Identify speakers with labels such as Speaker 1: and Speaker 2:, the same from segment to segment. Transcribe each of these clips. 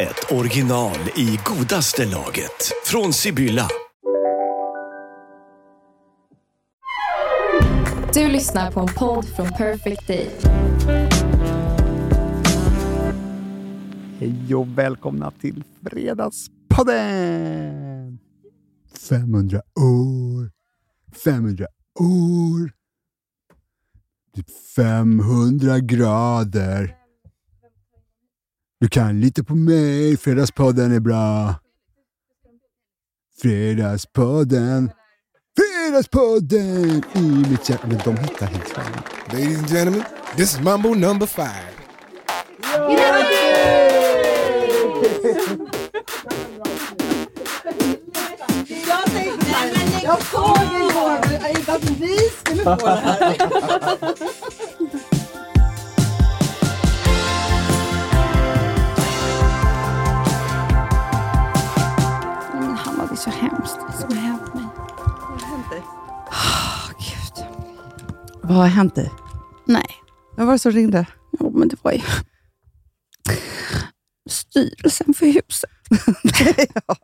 Speaker 1: ett original i godaste laget. Från Sibylla.
Speaker 2: Du lyssnar på en podd från Perfect Day.
Speaker 3: Hej och välkomna till Fredagspodden! 500 år, 500 år, typ 500 grader. Du kan lita på mig, Fredagspodden är bra. Fredagspodden, Fredagspodden i mitt hjärta. Men de hittar helt fel.
Speaker 4: Ladies and gentlemen, this is Mambo number five.
Speaker 5: Jag tänkte så här, jag såg igår inte att vi skulle få det här.
Speaker 6: Men Hammarby är så hemskt, det som har hänt mig. Åh, Gud.
Speaker 7: Vad har hänt dig?
Speaker 6: Nej,
Speaker 7: Vem var det som ringde?
Speaker 6: jo, men det var ju styrelsen för huset.
Speaker 7: ja.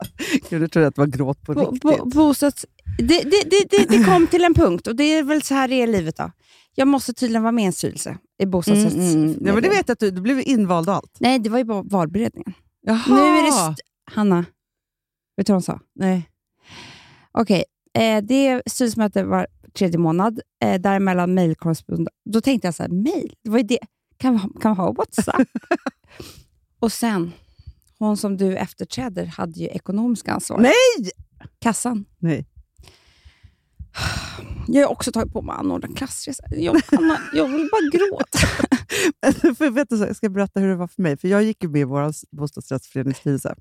Speaker 7: Gud, jag trodde att det var gråt på
Speaker 6: Bo,
Speaker 7: riktigt.
Speaker 6: bo, bostads... det, det, det, det, det kom till en punkt och det är väl så här det är i livet. Då. Jag måste tydligen vara med i en styrelse i
Speaker 7: Mm,
Speaker 6: bostadsrätts...
Speaker 7: mm. Ja, men det vet jag att du, du blev invald och allt.
Speaker 6: Nej, det var ju bara valberedningen.
Speaker 7: Jaha.
Speaker 6: Nu är det... St- Hanna, vet du vad hon sa?
Speaker 7: Nej.
Speaker 6: Okej, eh, det är styrelsemöte var tredje månad. Eh, däremellan mejlkorrespondens. Då tänkte jag så här, mejl? Det var ju det. Kan vi ha, kan vi ha WhatsApp? och sen, hon som du efterträder hade ju ekonomiska ansvar.
Speaker 7: Nej!
Speaker 6: Kassan.
Speaker 7: Nej.
Speaker 6: Jag har också tagit på mig att anordna klassresa. Jag, Anna, jag vill bara gråta.
Speaker 7: för vet du, så, jag ska berätta hur det var för mig. För Jag gick ju med i vår bostadsrättsföreningsstyrelse.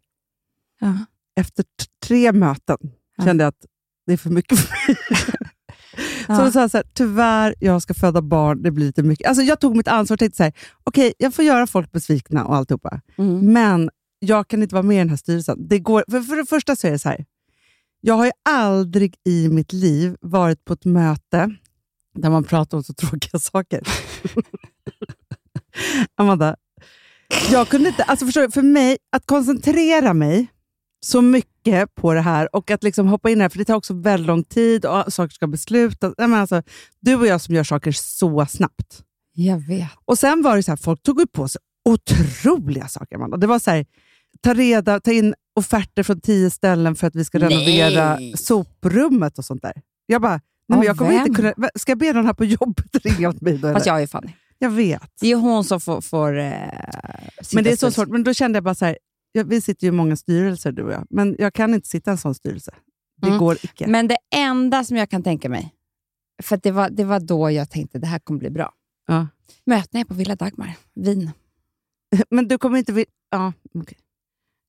Speaker 6: Ja.
Speaker 7: Efter t- tre möten
Speaker 6: Ja.
Speaker 7: kände jag att det är för mycket för mig.
Speaker 6: Ja.
Speaker 7: Så då sa jag så här, tyvärr, jag ska föda barn, det blir lite mycket. Alltså, jag tog mitt ansvar och tänkte så här, okej, jag får göra folk besvikna och alltihopa.
Speaker 6: Mm.
Speaker 7: Men jag kan inte vara med i den här styrelsen. Det går, för, för det första så är det så här. Jag har ju aldrig i mitt liv varit på ett möte där man pratar om så tråkiga saker. Amanda, jag kunde inte, alltså förstår du, för mig, att koncentrera mig så mycket på det här och att liksom hoppa in i det här, för det tar också väldigt lång tid och saker ska beslutas. Nej, men alltså, du och jag som gör saker så snabbt.
Speaker 6: Jag vet.
Speaker 7: Och sen var det så här, folk tog ju på sig otroliga saker, Amanda. Det var så här, ta, reda, ta in offerter från tio ställen för att vi ska renovera soprummet och sånt där. Jag bara, nej,
Speaker 6: Av
Speaker 7: men jag kommer inte
Speaker 6: vem?
Speaker 7: kunna, Eh, va- ska jag be någon här på jobbet ringa åt mig då?
Speaker 6: Fast
Speaker 7: Eller?
Speaker 6: jag är Fanny.
Speaker 7: Jag vet.
Speaker 6: Det är hon som får... får eh, sitta
Speaker 7: Men det är så
Speaker 6: styrelse.
Speaker 7: svårt. Men då kände jag bara så här, ja, vi sitter ju i många styrelser du och jag, men jag kan inte sitta i en sån styrelse. Det
Speaker 6: Mm.
Speaker 7: går icke.
Speaker 6: Men det enda som jag kan tänka mig, för att det, var, det var då jag tänkte det här kommer bli bra.
Speaker 7: Ja.
Speaker 6: Mötena är på Villa Dagmar, Wien.
Speaker 7: Men du kommer inte vilja... Ja, okej.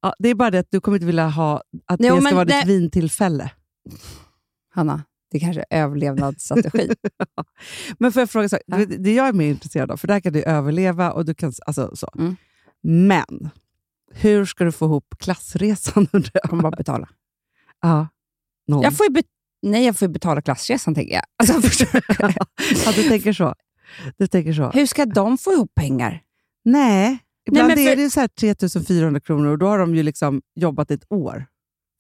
Speaker 7: ja, det är bara det att du kommer inte vilja ha att
Speaker 6: Jo,
Speaker 7: det
Speaker 6: men
Speaker 7: ska vara
Speaker 6: det-
Speaker 7: ditt vintillfälle.
Speaker 6: Hanna, det kanske är överlevnadsstrategi.
Speaker 7: Men får jag fråga, så,
Speaker 6: Ja.
Speaker 7: här, det- det jag är mer intresserad av, för där kan du överleva och du kan... Alltså, så.
Speaker 6: Mm.
Speaker 7: Men, hur ska du få ihop klassresan? undrar jag?
Speaker 6: Kommer bara betala.
Speaker 7: ja, någon.
Speaker 6: Jag får ju bet- Nej, jag får ju betala klassresan, tänker jag. Alltså, förstår du?
Speaker 7: ja, du tänker så. Du tänker så.
Speaker 6: Hur ska de få ihop pengar?
Speaker 7: Nej, ibland
Speaker 6: men för-
Speaker 7: är det ju så här 3400 kronor och då har de ju liksom jobbat ett år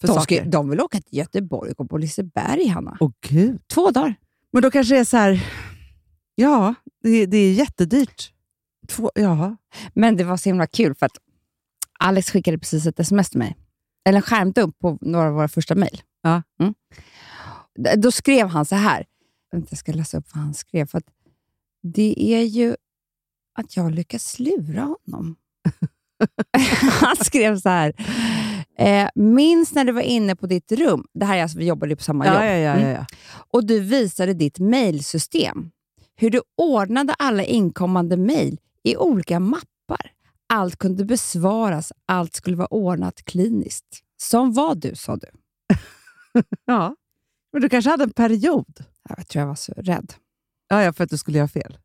Speaker 7: för
Speaker 6: De,
Speaker 7: saker.
Speaker 6: ska, de vill åka till Göteborg och gå på Liseberg, Hanna.
Speaker 7: Åh, gud.
Speaker 6: Två dagar.
Speaker 7: Men då kanske det är så här... Ja, det, det är jättedyrt. Två, ja.
Speaker 6: Men det var så himla kul, för att Alex skickade precis ett sms till mig. Eller en skärmdump på några av våra första mejl.
Speaker 7: Ja.
Speaker 6: Mm. D- Då skrev han så här. Vänta, Jag ska läsa upp vad han skrev. För att det är ju att jag lyckas lura honom. han skrev så här. Eh, minns när du var inne på ditt rum. Det här är alltså, vi jobbade ju på samma jobb. Mm.
Speaker 7: ja.
Speaker 6: Och du visade ditt mejlsystem. Hur du ordnade alla inkommande mejl i olika mappar. Allt kunde besvaras, allt skulle vara ordnat kliniskt. Som var du, sa du.
Speaker 7: Ja. Men du kanske hade en period?
Speaker 6: Jag tror jag var så rädd.
Speaker 7: Ja, ja för att du skulle göra fel.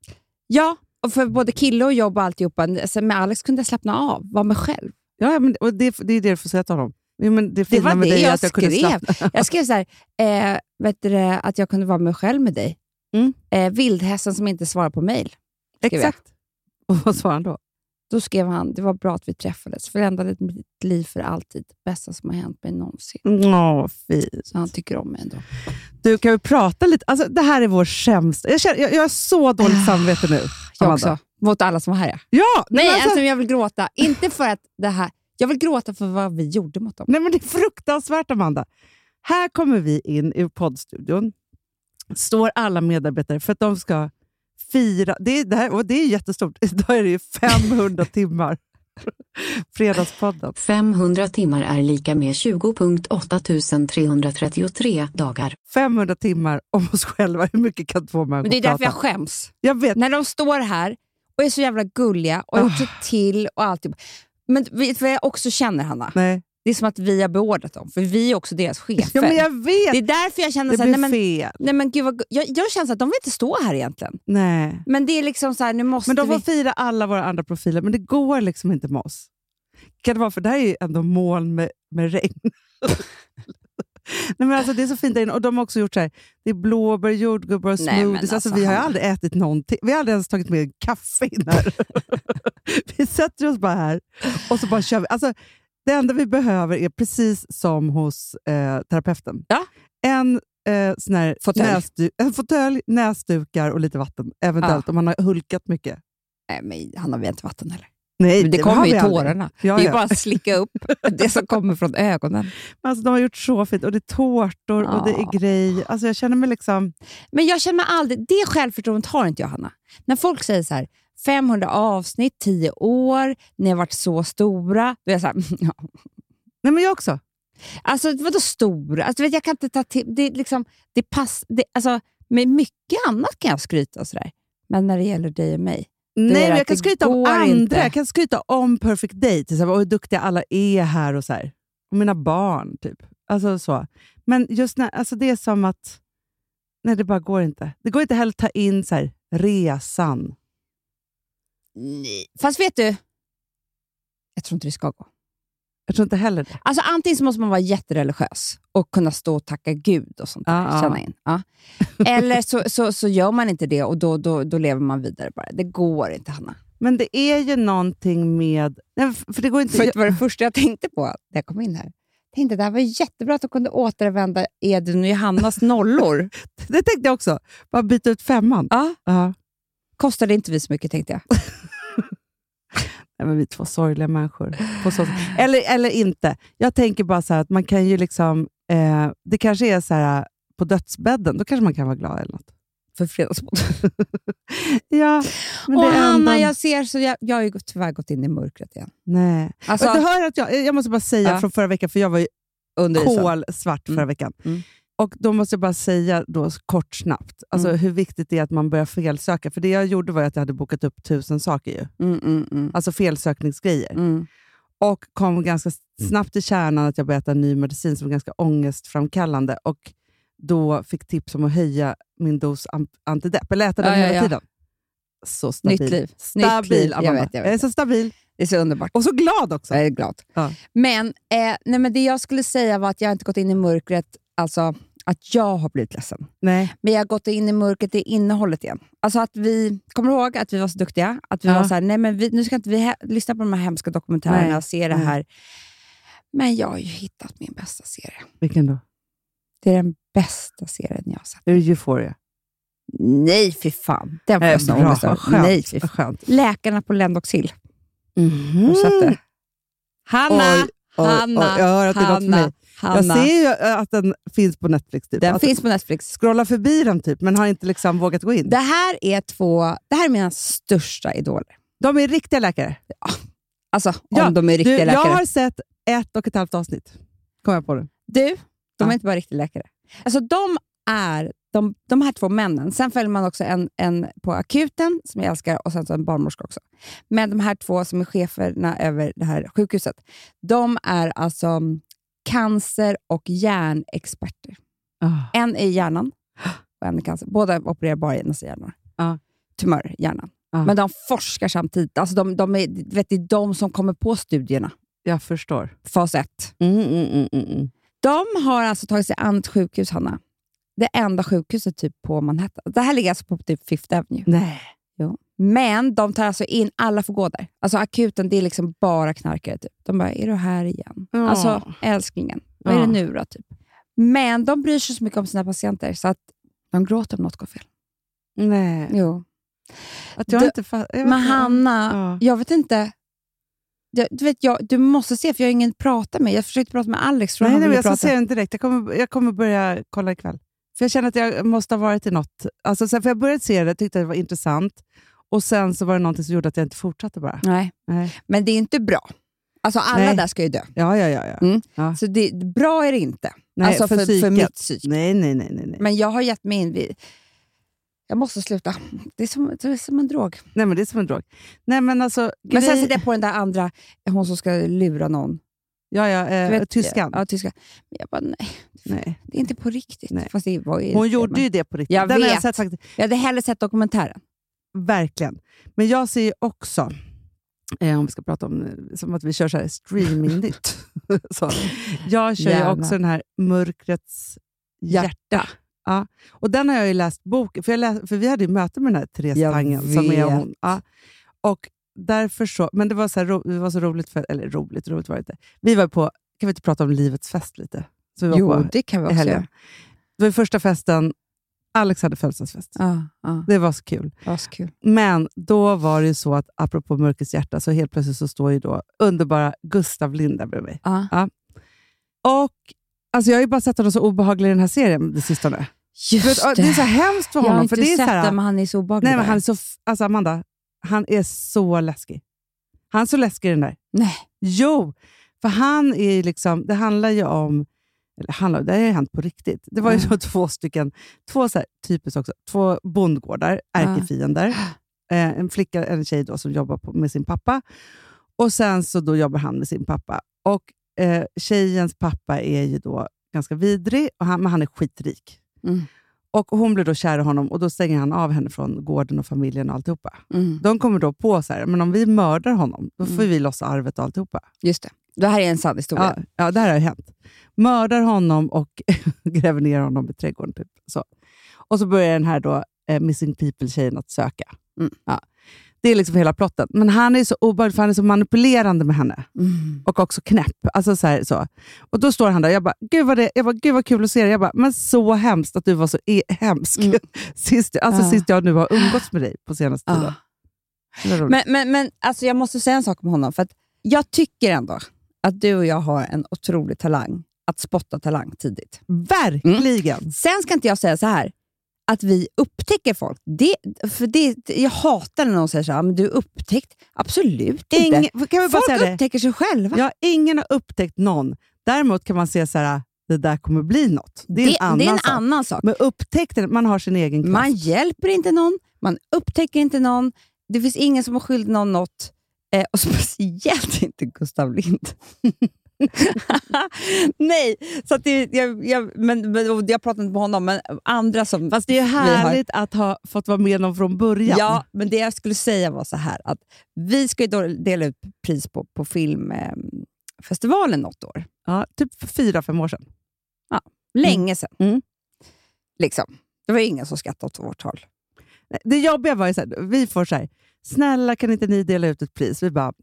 Speaker 6: Ja, och för både kille och jobb och alltihopa. Alltså, med Alex kunde jag slappna av, vara mig själv.
Speaker 7: Ja, ja, men, och det, det är det du får säga till honom. Jo, men det, fina
Speaker 6: var
Speaker 7: med
Speaker 6: det
Speaker 7: dig är
Speaker 6: jag
Speaker 7: att jag kunde
Speaker 6: skrev.
Speaker 7: slappna-
Speaker 6: Jag skrev så här, eh, vet du, det, att jag kunde vara mig själv med dig.
Speaker 7: Mm.
Speaker 6: Eh, vildhästen som inte svarar på mejl. skrev jag.
Speaker 7: Exakt. Och vad svarade han då?
Speaker 6: Då skrev han, det var bra att vi träffades. Förändrade mitt liv för alltid. Bästa som har hänt mig någonsin.
Speaker 7: Åh, vad Mm. fint.
Speaker 6: Så han tycker om mig ändå.
Speaker 7: Du, kan vi prata lite? Alltså, det här är vår sämsta... Jag, känner, jag, jag har så dåligt samvete nu.
Speaker 6: Ah, Jag
Speaker 7: Amanda.
Speaker 6: också. Mot alla som var här ja.
Speaker 7: Ja!
Speaker 6: Nej,
Speaker 7: men alltså-
Speaker 6: alltså, jag vill gråta. Inte för att det här... Jag vill gråta för vad vi gjorde mot dem.
Speaker 7: Nej, men det är fruktansvärt, Amanda. Här kommer vi in i poddstudion. Står alla medarbetare för att de ska fira. Det är, det här, och det är jättestort. Idag är det ju 500 timmar. Fredagspodden.
Speaker 8: 500 timmar är lika med 20.8333 dagar.
Speaker 7: 500 timmar om oss själva. Hur mycket kan två människor
Speaker 6: Men det är därför jag
Speaker 7: prata?
Speaker 6: skäms.
Speaker 7: Jag vet.
Speaker 6: När de står här och är så jävla gulliga och hjälper
Speaker 7: Ah.
Speaker 6: till och allt. Men vet du vad jag också känner, Hanna?
Speaker 7: Nej.
Speaker 6: Det är som att vi har beordrat dem, för vi är också deras chefer.
Speaker 7: Ja, men jag
Speaker 6: Det
Speaker 7: vet.
Speaker 6: är därför jag känner
Speaker 7: Det
Speaker 6: så här,
Speaker 7: blir
Speaker 6: nej, men,
Speaker 7: fel.
Speaker 6: nej, men gud vad, gu- jag, jag känner så att de vill inte stå här egentligen.
Speaker 7: Nej.
Speaker 6: Men det är liksom så här, nu måste
Speaker 7: Men de får
Speaker 6: vi...
Speaker 7: fira alla våra andra profiler, men det går liksom inte med oss. Kan det vara för det här är ju ändå moln med, med regn. Nej, men alltså, det är så fint där inne. Och de har också gjort så här, det är blåbär, jordgubbar och
Speaker 6: Nej, men
Speaker 7: smoothies.
Speaker 6: alltså,
Speaker 7: alltså, vi har ju
Speaker 6: Hanna.
Speaker 7: aldrig ätit någonting. Vi har aldrig ens tagit med kaffe in här. vi sätter oss bara här och så bara kör vi. Alltså, det enda vi behöver är precis som hos eh, terapeuten.
Speaker 6: Ja.
Speaker 7: En eh, sån här
Speaker 6: Fåtölj.
Speaker 7: Näsdu- en fåtölj, näsdukar och lite vatten. Eventuellt
Speaker 6: Ja.
Speaker 7: om man har hulkat mycket.
Speaker 6: Nej, men han har vi inte vatten heller.
Speaker 7: Nej,
Speaker 6: Men det
Speaker 7: har
Speaker 6: kommer ju
Speaker 7: vi aldrig.
Speaker 6: tårarna.
Speaker 7: Ja,
Speaker 6: det är
Speaker 7: ja.
Speaker 6: ju bara att slicka upp det som kommer från ögonen.
Speaker 7: Men Alltså, de har gjort så fint. Och det är tårtor och det
Speaker 6: Ja.
Speaker 7: är grejer. Alltså, jag känner mig liksom...
Speaker 6: Men jag känner mig aldrig, det självförtroendet har inte jag, Hanna. När folk säger så här, 500 avsnitt, 10 år, ni har varit så stora. Då är jag så här, ja.
Speaker 7: Nej, men jag också.
Speaker 6: Alltså vadå stora? Alltså, du vet, jag kan inte ta till, det är liksom, det pass, det, alltså, med mycket annat kan jag skryta och sådär. Men när det gäller dig och mig.
Speaker 7: Nej,
Speaker 6: är
Speaker 7: men
Speaker 6: att
Speaker 7: jag kan
Speaker 6: det
Speaker 7: skryta om
Speaker 6: går
Speaker 7: andra.
Speaker 6: inte.
Speaker 7: Jag kan skryta om Perfect Day. Till exempel, och hur duktiga alla är här och så här. Och mina barn, typ. Alltså så. Men just när, alltså det är som att... Nej, det bara går inte. Det går inte heller att ta in så här, resan.
Speaker 6: Fast vet du, jag tror inte det ska gå.
Speaker 7: Jag tror inte heller det.
Speaker 6: Alltså antingen så måste man vara jättereligiös och kunna stå och tacka Gud och sånt där.
Speaker 7: Ja, ja.
Speaker 6: Känna in. Ja. Eller så, så, så gör man inte det och då, då, då lever man vidare bara. Det går inte Hanna.
Speaker 7: Men det är ju någonting med... Nej, f- för det går inte...
Speaker 6: För det var det första jag tänkte på när jag kom in här. Jag tänkte det här var jättebra att de kunde återanvända Edvin och Johannas nollor.
Speaker 7: Det tänkte jag också. Bara byta ut femman.
Speaker 6: Ja.
Speaker 7: Ja.
Speaker 6: Kostade inte vi så mycket tänkte jag.
Speaker 7: Nej, men vi är två sorgliga människor. På så eller, eller inte. Jag tänker bara så här att man kan ju liksom... Eh, det kanske är så här på dödsbädden, då kanske man kan vara glad eller något.
Speaker 6: För fredagsmod.
Speaker 7: Ja, men
Speaker 6: Och
Speaker 7: det är
Speaker 6: Hanna,
Speaker 7: ändå-
Speaker 6: jag ser så jag, jag har ju gått- tyvärr gått in i mörkret igen.
Speaker 7: Nej.
Speaker 6: Alltså,
Speaker 7: Och du hör att jag, jag måste bara säga
Speaker 6: Ja.
Speaker 7: från förra veckan, för jag var ju
Speaker 6: under isen.
Speaker 7: kolsvart
Speaker 6: Mm.
Speaker 7: förra veckan.
Speaker 6: Mm.
Speaker 7: Och Då måste jag bara säga då, kort snabbt alltså,
Speaker 6: Mm.
Speaker 7: hur viktigt det är att man börjar felsöka. För det jag gjorde var ju att jag hade bokat upp tusen saker. ju.
Speaker 6: Mm, mm, mm.
Speaker 7: Alltså felsökningsgrejer.
Speaker 6: Mm.
Speaker 7: och kom ganska snabbt till kärnan att jag började äta ny medicin som var ganska ångestframkallande och då fick tips om att höja min dos am- antidepp, eller äta den
Speaker 6: Ja, ja,
Speaker 7: hela
Speaker 6: ja.
Speaker 7: tiden. Så stabil.
Speaker 6: Nytt liv.
Speaker 7: Stabil,
Speaker 6: Nytt liv. Jag
Speaker 7: Amanda.
Speaker 6: vet, jag vet.
Speaker 7: är så stabil
Speaker 6: Det är så underbart.
Speaker 7: och så glad också.
Speaker 6: Jag är glad.
Speaker 7: Ja.
Speaker 6: Men, eh, nej, men det jag skulle säga var att jag inte gått in i mörkret, alltså att jag har blivit ledsen.
Speaker 7: Nej.
Speaker 6: Men jag har gått in i mörkret i innehållet igen. Alltså att vi, kommer du ihåg att vi var så duktiga? Att vi
Speaker 7: Ja.
Speaker 6: var så här, nej men vi, nu ska inte vi he- lyssna på de här hemska dokumentärerna
Speaker 7: Nej. Mm.
Speaker 6: och se det
Speaker 7: Nej.
Speaker 6: här. Men jag har ju hittat min bästa serie.
Speaker 7: Vilken då?
Speaker 6: Det är den bästa serien jag har sett.
Speaker 7: Är det euphoria?
Speaker 6: Nej, fy fan. Den får jag sån ångest
Speaker 7: vad
Speaker 6: över.
Speaker 7: skönt.
Speaker 6: alltså, Nej, fy fan.
Speaker 7: vad skönt.
Speaker 6: Läkarna på Lendox Hill.
Speaker 7: Mm.
Speaker 6: Har du sett det? Mm-hmm. Hanna!
Speaker 7: Oj, oj,
Speaker 6: Hanna!
Speaker 7: oj, jag hör att det är något för
Speaker 6: Hanna!
Speaker 7: mig. Jag
Speaker 6: Hanna.
Speaker 7: ser ju äh, att den finns på Netflix. Typ.
Speaker 6: Den
Speaker 7: att
Speaker 6: finns på Netflix.
Speaker 7: Scrolla förbi den typ, men har inte liksom vågat gå in.
Speaker 6: Det här är två, det här är mina största idoler.
Speaker 7: De är riktiga läkare.
Speaker 6: Alltså om
Speaker 7: Ja,
Speaker 6: de är riktiga
Speaker 7: du,
Speaker 6: läkare.
Speaker 7: Jag har sett ett och ett halvt avsnitt. Kom jag på det.
Speaker 6: Du, de
Speaker 7: Ja.
Speaker 6: är inte bara riktiga läkare. Alltså de är de, de här två männen. Sen följer man också en, en på akuten, som jag älskar, och sen så en barnmorska också. Men de här två som är cheferna över det här sjukhuset, de är alltså cancer och hjärnexperter.
Speaker 7: Ah.
Speaker 6: En är i hjärnan och en är cancer. Båda opererar bara i hennes hjärnor.
Speaker 7: Ja.
Speaker 6: Tumör, hjärnan.
Speaker 7: Ja.
Speaker 6: Men de forskar samtidigt. Alltså de, de är, du vet, det är de som kommer på studierna.
Speaker 7: Jag förstår.
Speaker 6: Fas 1.
Speaker 7: Mm, mm, mm, mm, mm.
Speaker 6: De har alltså tagit sig an ett sjukhus, Hanna. Det enda sjukhuset typ på Manhattan. Det här ligger alltså på typ Fifth Avenue.
Speaker 7: Nej.
Speaker 6: Men de tar alltså in, alla får gå där. Alltså akuten, det är liksom bara knarkare. Typ. De bara, är du här igen?
Speaker 7: Ja.
Speaker 6: Alltså älsklingen, vad är
Speaker 7: Ja.
Speaker 6: det nu då? Typ. Men de bryr sig så mycket om sina patienter så att de gråter om något går fel.
Speaker 7: Nej.
Speaker 6: Jo.
Speaker 7: Att jag
Speaker 6: Du-
Speaker 7: inte fattar.
Speaker 6: Men Hanna,
Speaker 7: Ja.
Speaker 6: jag vet inte. Du, du, vet, jag, du måste se, för jag har ingen att prata med. Jag försökte prata med Alex, tror
Speaker 7: Nej,
Speaker 6: han
Speaker 7: nej, men
Speaker 6: ville
Speaker 7: jag ska
Speaker 6: prata.
Speaker 7: se den direkt. Jag kommer, jag kommer börja kolla ikväll. För jag känner att jag måste ha varit i något. Alltså, sen, för jag började se det, tyckte att det var intressant. Och sen så var det någonting som gjorde att jag inte fortsatte bara.
Speaker 6: Nej,
Speaker 7: Nej.
Speaker 6: men det är inte bra. Alltså alla
Speaker 7: Nej.
Speaker 6: där ska ju dö.
Speaker 7: Ja, ja, ja. ja.
Speaker 6: Mm.
Speaker 7: Ja.
Speaker 6: Så det, bra är det inte.
Speaker 7: Nej,
Speaker 6: alltså för, för,
Speaker 7: psyket.
Speaker 6: mitt psyke.
Speaker 7: Nej, nej, nej. nej, nej.
Speaker 6: Men jag har gett mig in vid... Jag måste sluta. Det är som, det är som en drog.
Speaker 7: nej, men det är som en drog. Nej, men alltså...
Speaker 6: Men sen
Speaker 7: grej-
Speaker 6: sitter jag på den där andra, hon som ska lura någon.
Speaker 7: Ja, ja. Eh,
Speaker 6: Du vet,
Speaker 7: tyskan.
Speaker 6: Ja, tyskan. Men jag bara, nej,
Speaker 7: nej.
Speaker 6: det är inte på riktigt.
Speaker 7: Nej.
Speaker 6: Fast det var ju
Speaker 7: Hon
Speaker 6: det,
Speaker 7: gjorde
Speaker 6: men-
Speaker 7: ju det på riktigt.
Speaker 6: Jag
Speaker 7: den har jag
Speaker 6: vet.
Speaker 7: sett faktiskt.
Speaker 6: Jag hade hellre sett dokumentären.
Speaker 7: Verkligen. Men jag ser ju också, eh, om vi ska prata om eh, som att vi kör så här streaming-nytt. så, jag kör ju
Speaker 6: Gärna.
Speaker 7: också den här Mörkrets hjärta. Ja. Och den har jag ju läst boken, för, jag läs, för vi hade ju möte med den här Therese
Speaker 6: Jag
Speaker 7: Tangen som är
Speaker 6: vet.
Speaker 7: hon. Ja. Och därför så, men det var, så här, ro, det var så roligt, för, eller roligt, roligt var det inte. Vi var på, kan vi inte prata om Livets fest lite? Så vi var på
Speaker 6: det kan vi
Speaker 7: i
Speaker 6: också
Speaker 7: helgen.
Speaker 6: göra.
Speaker 7: Det var ju första festen, Alex hade födelsedagsfest.
Speaker 6: Ja, ja.
Speaker 7: Det var så kul.
Speaker 6: Askul.
Speaker 7: Men då var det ju så att, apropå Mörkets hjärta, så helt plötsligt så står ju då underbara Gustav Linda bredvid mig.
Speaker 6: Ja.
Speaker 7: Och alltså jag har ju bara sett honom så obehaglig i den här serien det sistone. Du vet,
Speaker 6: Just
Speaker 7: och
Speaker 6: det.
Speaker 7: det är så hemskt för
Speaker 6: jag har
Speaker 7: honom.
Speaker 6: inte
Speaker 7: För det är så
Speaker 6: sett
Speaker 7: här,
Speaker 6: den, men han är så obehaglig.
Speaker 7: nej, men
Speaker 6: där.
Speaker 7: han är så, f- alltså Amanda, han är så läskig. Han är så läskig i den där.
Speaker 6: Nej.
Speaker 7: Jo, för han är ju liksom, det handlar ju om, eller handlar, det här har ju hänt på riktigt. Det var ju
Speaker 6: Ja.
Speaker 7: så två stycken, två så här, typiskt också, två bondgårdar,
Speaker 6: Ah.
Speaker 7: ärkefiender. Eh, en flicka, en tjej då, som jobbar på, med sin pappa. Och sen så då jobbar han med sin pappa. Och eh, tjejens pappa är ju då ganska vidrig, och han, men han är skitrik.
Speaker 6: Mm.
Speaker 7: Och hon blir då kär i honom och då stänger han av henne från gården och familjen och alltihopa.
Speaker 6: Mm.
Speaker 7: De kommer då på så här, men om vi mördar honom, då får
Speaker 6: Mm.
Speaker 7: vi loss arvet och alltihopa.
Speaker 6: Just det. Det här är en sann historia.
Speaker 7: Ja, ja, det här har ju hänt. Mördar honom och gräver ner honom i trädgården. Typ. Så. Och så börjar den här då, eh, Missing People-tjejen att söka.
Speaker 6: Mm.
Speaker 7: Ja. Det är liksom hela plotten. Men han är så obehaglig, för han är så manipulerande med henne.
Speaker 6: Mm.
Speaker 7: Och också knäpp. Alltså så här, så. Och då står han där jag bara, gud vad, det, jag bara, gud vad kul att se dig. Jag bara, men så hemskt att du var så e- hemsk
Speaker 6: Mm.
Speaker 7: sist, alltså
Speaker 6: Ja.
Speaker 7: sist jag nu har umgåtts med dig på senaste tiden.
Speaker 6: Ja.
Speaker 7: Det är roligt.
Speaker 6: Men, men, men alltså jag måste säga en sak om honom. För att jag tycker ändå att du och jag har en otrolig talang att spotta talang tidigt.
Speaker 7: Verkligen!
Speaker 6: Sen ska inte jag säga så här att vi upptäcker folk. Det, för det, jag hatar när någon säger så här, men du är upptäckt. Absolut inte.
Speaker 7: Ingen- kan vi bara
Speaker 6: folk
Speaker 7: säga det?
Speaker 6: upptäcker sig själva.
Speaker 7: Ja, ingen har upptäckt någon. Däremot kan man se så här, det där kommer bli något. Det är en annan
Speaker 6: det är en
Speaker 7: sak.
Speaker 6: annan sak.
Speaker 7: Men upptäckten, man har sin egen kraft.
Speaker 6: Man hjälper inte någon, man upptäcker inte någon. Det finns ingen som har skyldig någon något. Eh, och speciellt inte Gustav Lind. Nej, så att det, jag, jag, men, men, och jag pratar inte med honom, men andra som...
Speaker 7: Fast det är ju
Speaker 6: vi har-
Speaker 7: härligt att ha fått vara med någon från början.
Speaker 6: Ja, men det jag skulle säga var så här att vi ska ju då dela ut pris på, på filmfestivalen något år.
Speaker 7: Ja, typ för fyra, fem år sedan.
Speaker 6: Länge sedan.
Speaker 7: Mm.
Speaker 6: Liksom. Det var ju ingen som skrattade åt vårt håll.
Speaker 7: Nej, Det jobbiga var ju så här, vi får så här, snälla kan inte ni dela ut ett pris? Vi bara,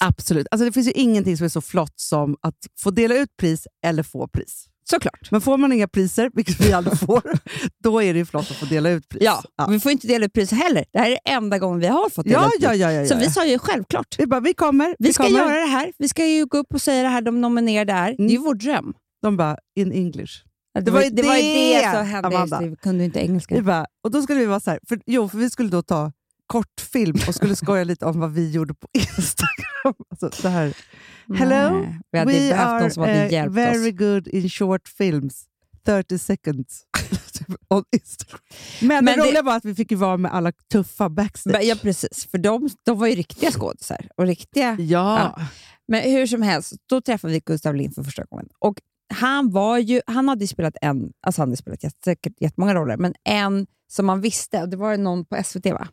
Speaker 7: absolut. Alltså det finns ju ingenting som är så flott som att få dela ut pris eller få pris.
Speaker 6: Såklart.
Speaker 7: Men får man inga priser, vilket vi aldrig får, då är det ju flott att få dela ut pris.
Speaker 6: Ja,
Speaker 7: ja.
Speaker 6: vi får inte dela ut pris heller. Det här är enda gången vi har fått dela
Speaker 7: Ja,
Speaker 6: ut pris.
Speaker 7: ja, ja, ja,
Speaker 6: Så
Speaker 7: ja.
Speaker 6: vi sa ju självklart.
Speaker 7: Vi bara, vi kommer.
Speaker 6: Vi ska
Speaker 7: kommer.
Speaker 6: göra det här. Vi ska ju gå upp och säga det här de nominerade är. Det är ju vår dröm.
Speaker 7: De bara, in English.
Speaker 6: Det var ju
Speaker 7: det
Speaker 6: det, var ju det som hände.
Speaker 7: Amanda.
Speaker 6: Just det, Vi kunde ju inte engelska.
Speaker 7: Vi bara, och då skulle vi vara så här, för, jo, för vi skulle då ta kortfilm och skulle skoja lite om vad vi gjorde på Instagram. Alltså, det här. Hello,
Speaker 6: Nej, Eh, vi hade
Speaker 7: we
Speaker 6: behövt
Speaker 7: are
Speaker 6: någon som hade
Speaker 7: eh,
Speaker 6: hjälpt
Speaker 7: very
Speaker 6: oss.
Speaker 7: good in short films, 30 seconds. Typ on Instagram. Men,
Speaker 6: Men
Speaker 7: det
Speaker 6: det-
Speaker 7: roliga var att vi fick ju vara med alla tuffa backstage.
Speaker 6: Ja, precis. För de, de var ju riktiga skådisar. Och riktiga...
Speaker 7: Ja.
Speaker 6: Men hur som helst, då träffade vi Gustav Lind för första gången. Och han, var ju, han hade ju spelat en, alltså han hade spelat jätte- säkert jättemånga roller, men en som man visste, och det var ju någon på SVT va?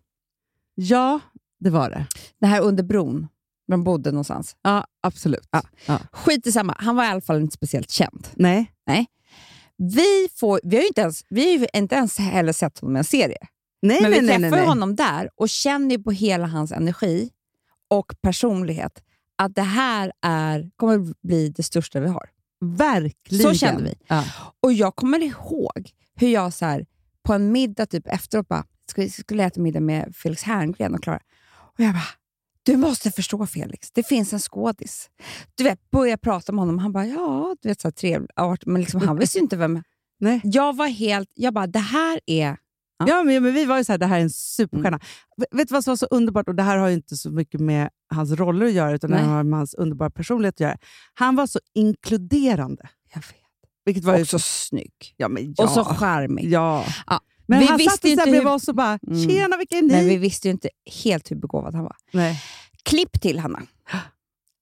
Speaker 7: ja, det var det.
Speaker 6: Den här under bron, där de bodde någonstans.
Speaker 7: Ja, absolut.
Speaker 6: Ja. Skit i samma, han var i alla fall inte speciellt känd.
Speaker 7: Nej.
Speaker 6: Vi, får, vi har ju inte ens, vi har ju inte ens heller sett honom i en serie.
Speaker 7: Nej,
Speaker 6: men
Speaker 7: nej,
Speaker 6: vi
Speaker 7: nej, nej,
Speaker 6: träffar ju
Speaker 7: nej.
Speaker 6: honom där och känner ju på hela hans energi och personlighet att det här är, kommer bli det största vi har.
Speaker 7: Verkligen.
Speaker 6: Så kände vi.
Speaker 7: Ja.
Speaker 6: Och jag kommer ihåg hur jag så här, på en middag typ efteråt bara, skulle, skulle äta middag med Felix Herngren och Klara. Och jag bara, du måste förstå Felix, det finns en skådis. Du vet, börja prata med honom. Han bara, ja, du vet så här trevlig art, men liksom, han visste ju inte vem...
Speaker 7: Nej.
Speaker 6: Jag var helt, jag bara, det här är...
Speaker 7: Ja, men, men vi var ju så här, det här är en superstjärna.
Speaker 6: Mm.
Speaker 7: V- Vet du vad som var så underbart? Och Det här har ju inte så mycket med hans roller att göra, utan det
Speaker 6: Nej.
Speaker 7: har med hans underbara personlighet att göra. Han var så inkluderande.
Speaker 6: Jag vet.
Speaker 7: Vilket var ju
Speaker 6: Och så
Speaker 7: snygg. Ja, men ja.
Speaker 6: Och så charmig.
Speaker 7: ja.
Speaker 6: Ja.
Speaker 7: Men
Speaker 6: Vi
Speaker 7: han
Speaker 6: visste
Speaker 7: satt ju
Speaker 6: inte
Speaker 7: så här
Speaker 6: hur-
Speaker 7: bredvid oss och bara,
Speaker 6: Mm.
Speaker 7: tjena vilka är ni?
Speaker 6: Men vi visste ju inte helt hur begåvad han var.
Speaker 7: Nej.
Speaker 6: Klipp till, Hanna.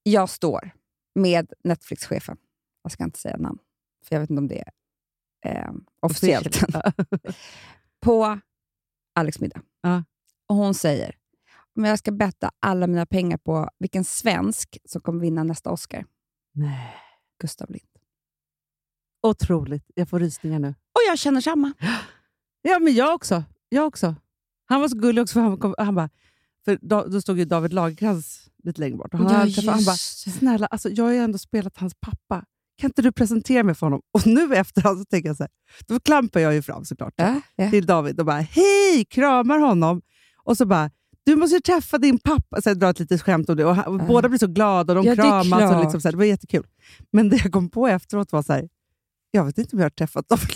Speaker 6: Jag står med Netflix-chefen. Jag ska inte säga namn, för jag vet inte om det är eh, officiellt. På Alex middag.
Speaker 7: Ja.
Speaker 6: Och hon säger, om jag ska betta alla mina pengar på vilken svensk som kommer vinna nästa Oscar.
Speaker 7: Nej.
Speaker 6: Gustav Lind.
Speaker 7: Otroligt. Jag får rysningar nu.
Speaker 6: Och jag känner samma.
Speaker 7: Ja, men jag också. Jag också. Han var så gullig också, för han, kom, han bara... För då, då stod ju David Lagercrantz lite längre bort. Och han,
Speaker 6: Ja,
Speaker 7: hade träffat- han bara,
Speaker 6: just det.
Speaker 7: snälla, alltså, jag har ju ändå spelat hans pappa. Kan inte du presentera mig för honom? Och nu efterhand så tänker jag så här, då klampar jag ju fram såklart
Speaker 6: Ja, ja.
Speaker 7: till David och bara, hej, kramar honom. Och så bara, du måste ju träffa din pappa. Så jag drar ett litet skämt om det. Och han, och
Speaker 6: Ja.
Speaker 7: Båda blir så glada och de
Speaker 6: Ja, det är
Speaker 7: kramas. Och
Speaker 6: klart.
Speaker 7: liksom så här, det var jättekul. Men det jag kom på efteråt var så här, jag vet inte om jag har träffat David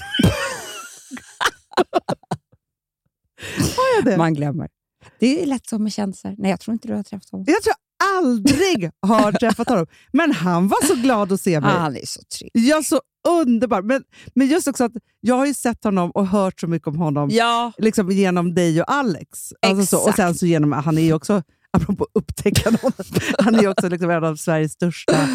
Speaker 7: Lagercrantz.
Speaker 6: Man glömmer. Det är lätt så med kändisar. Nej, jag tror inte du har träffat honom.
Speaker 7: Jag tror jag aldrig har träffat honom, men han var så glad att se
Speaker 6: Ah,
Speaker 7: mig.
Speaker 6: han är så trygg.
Speaker 7: Ja, så underbar. Men, men just också att jag har ju sett honom och hört så mycket om honom
Speaker 6: Ja,
Speaker 7: liksom genom dig och Alex. Alltså så, och
Speaker 6: Exakt.
Speaker 7: sen så genom, han är ju också, apropå upptäcka någon, han är ju också liksom en av Sveriges största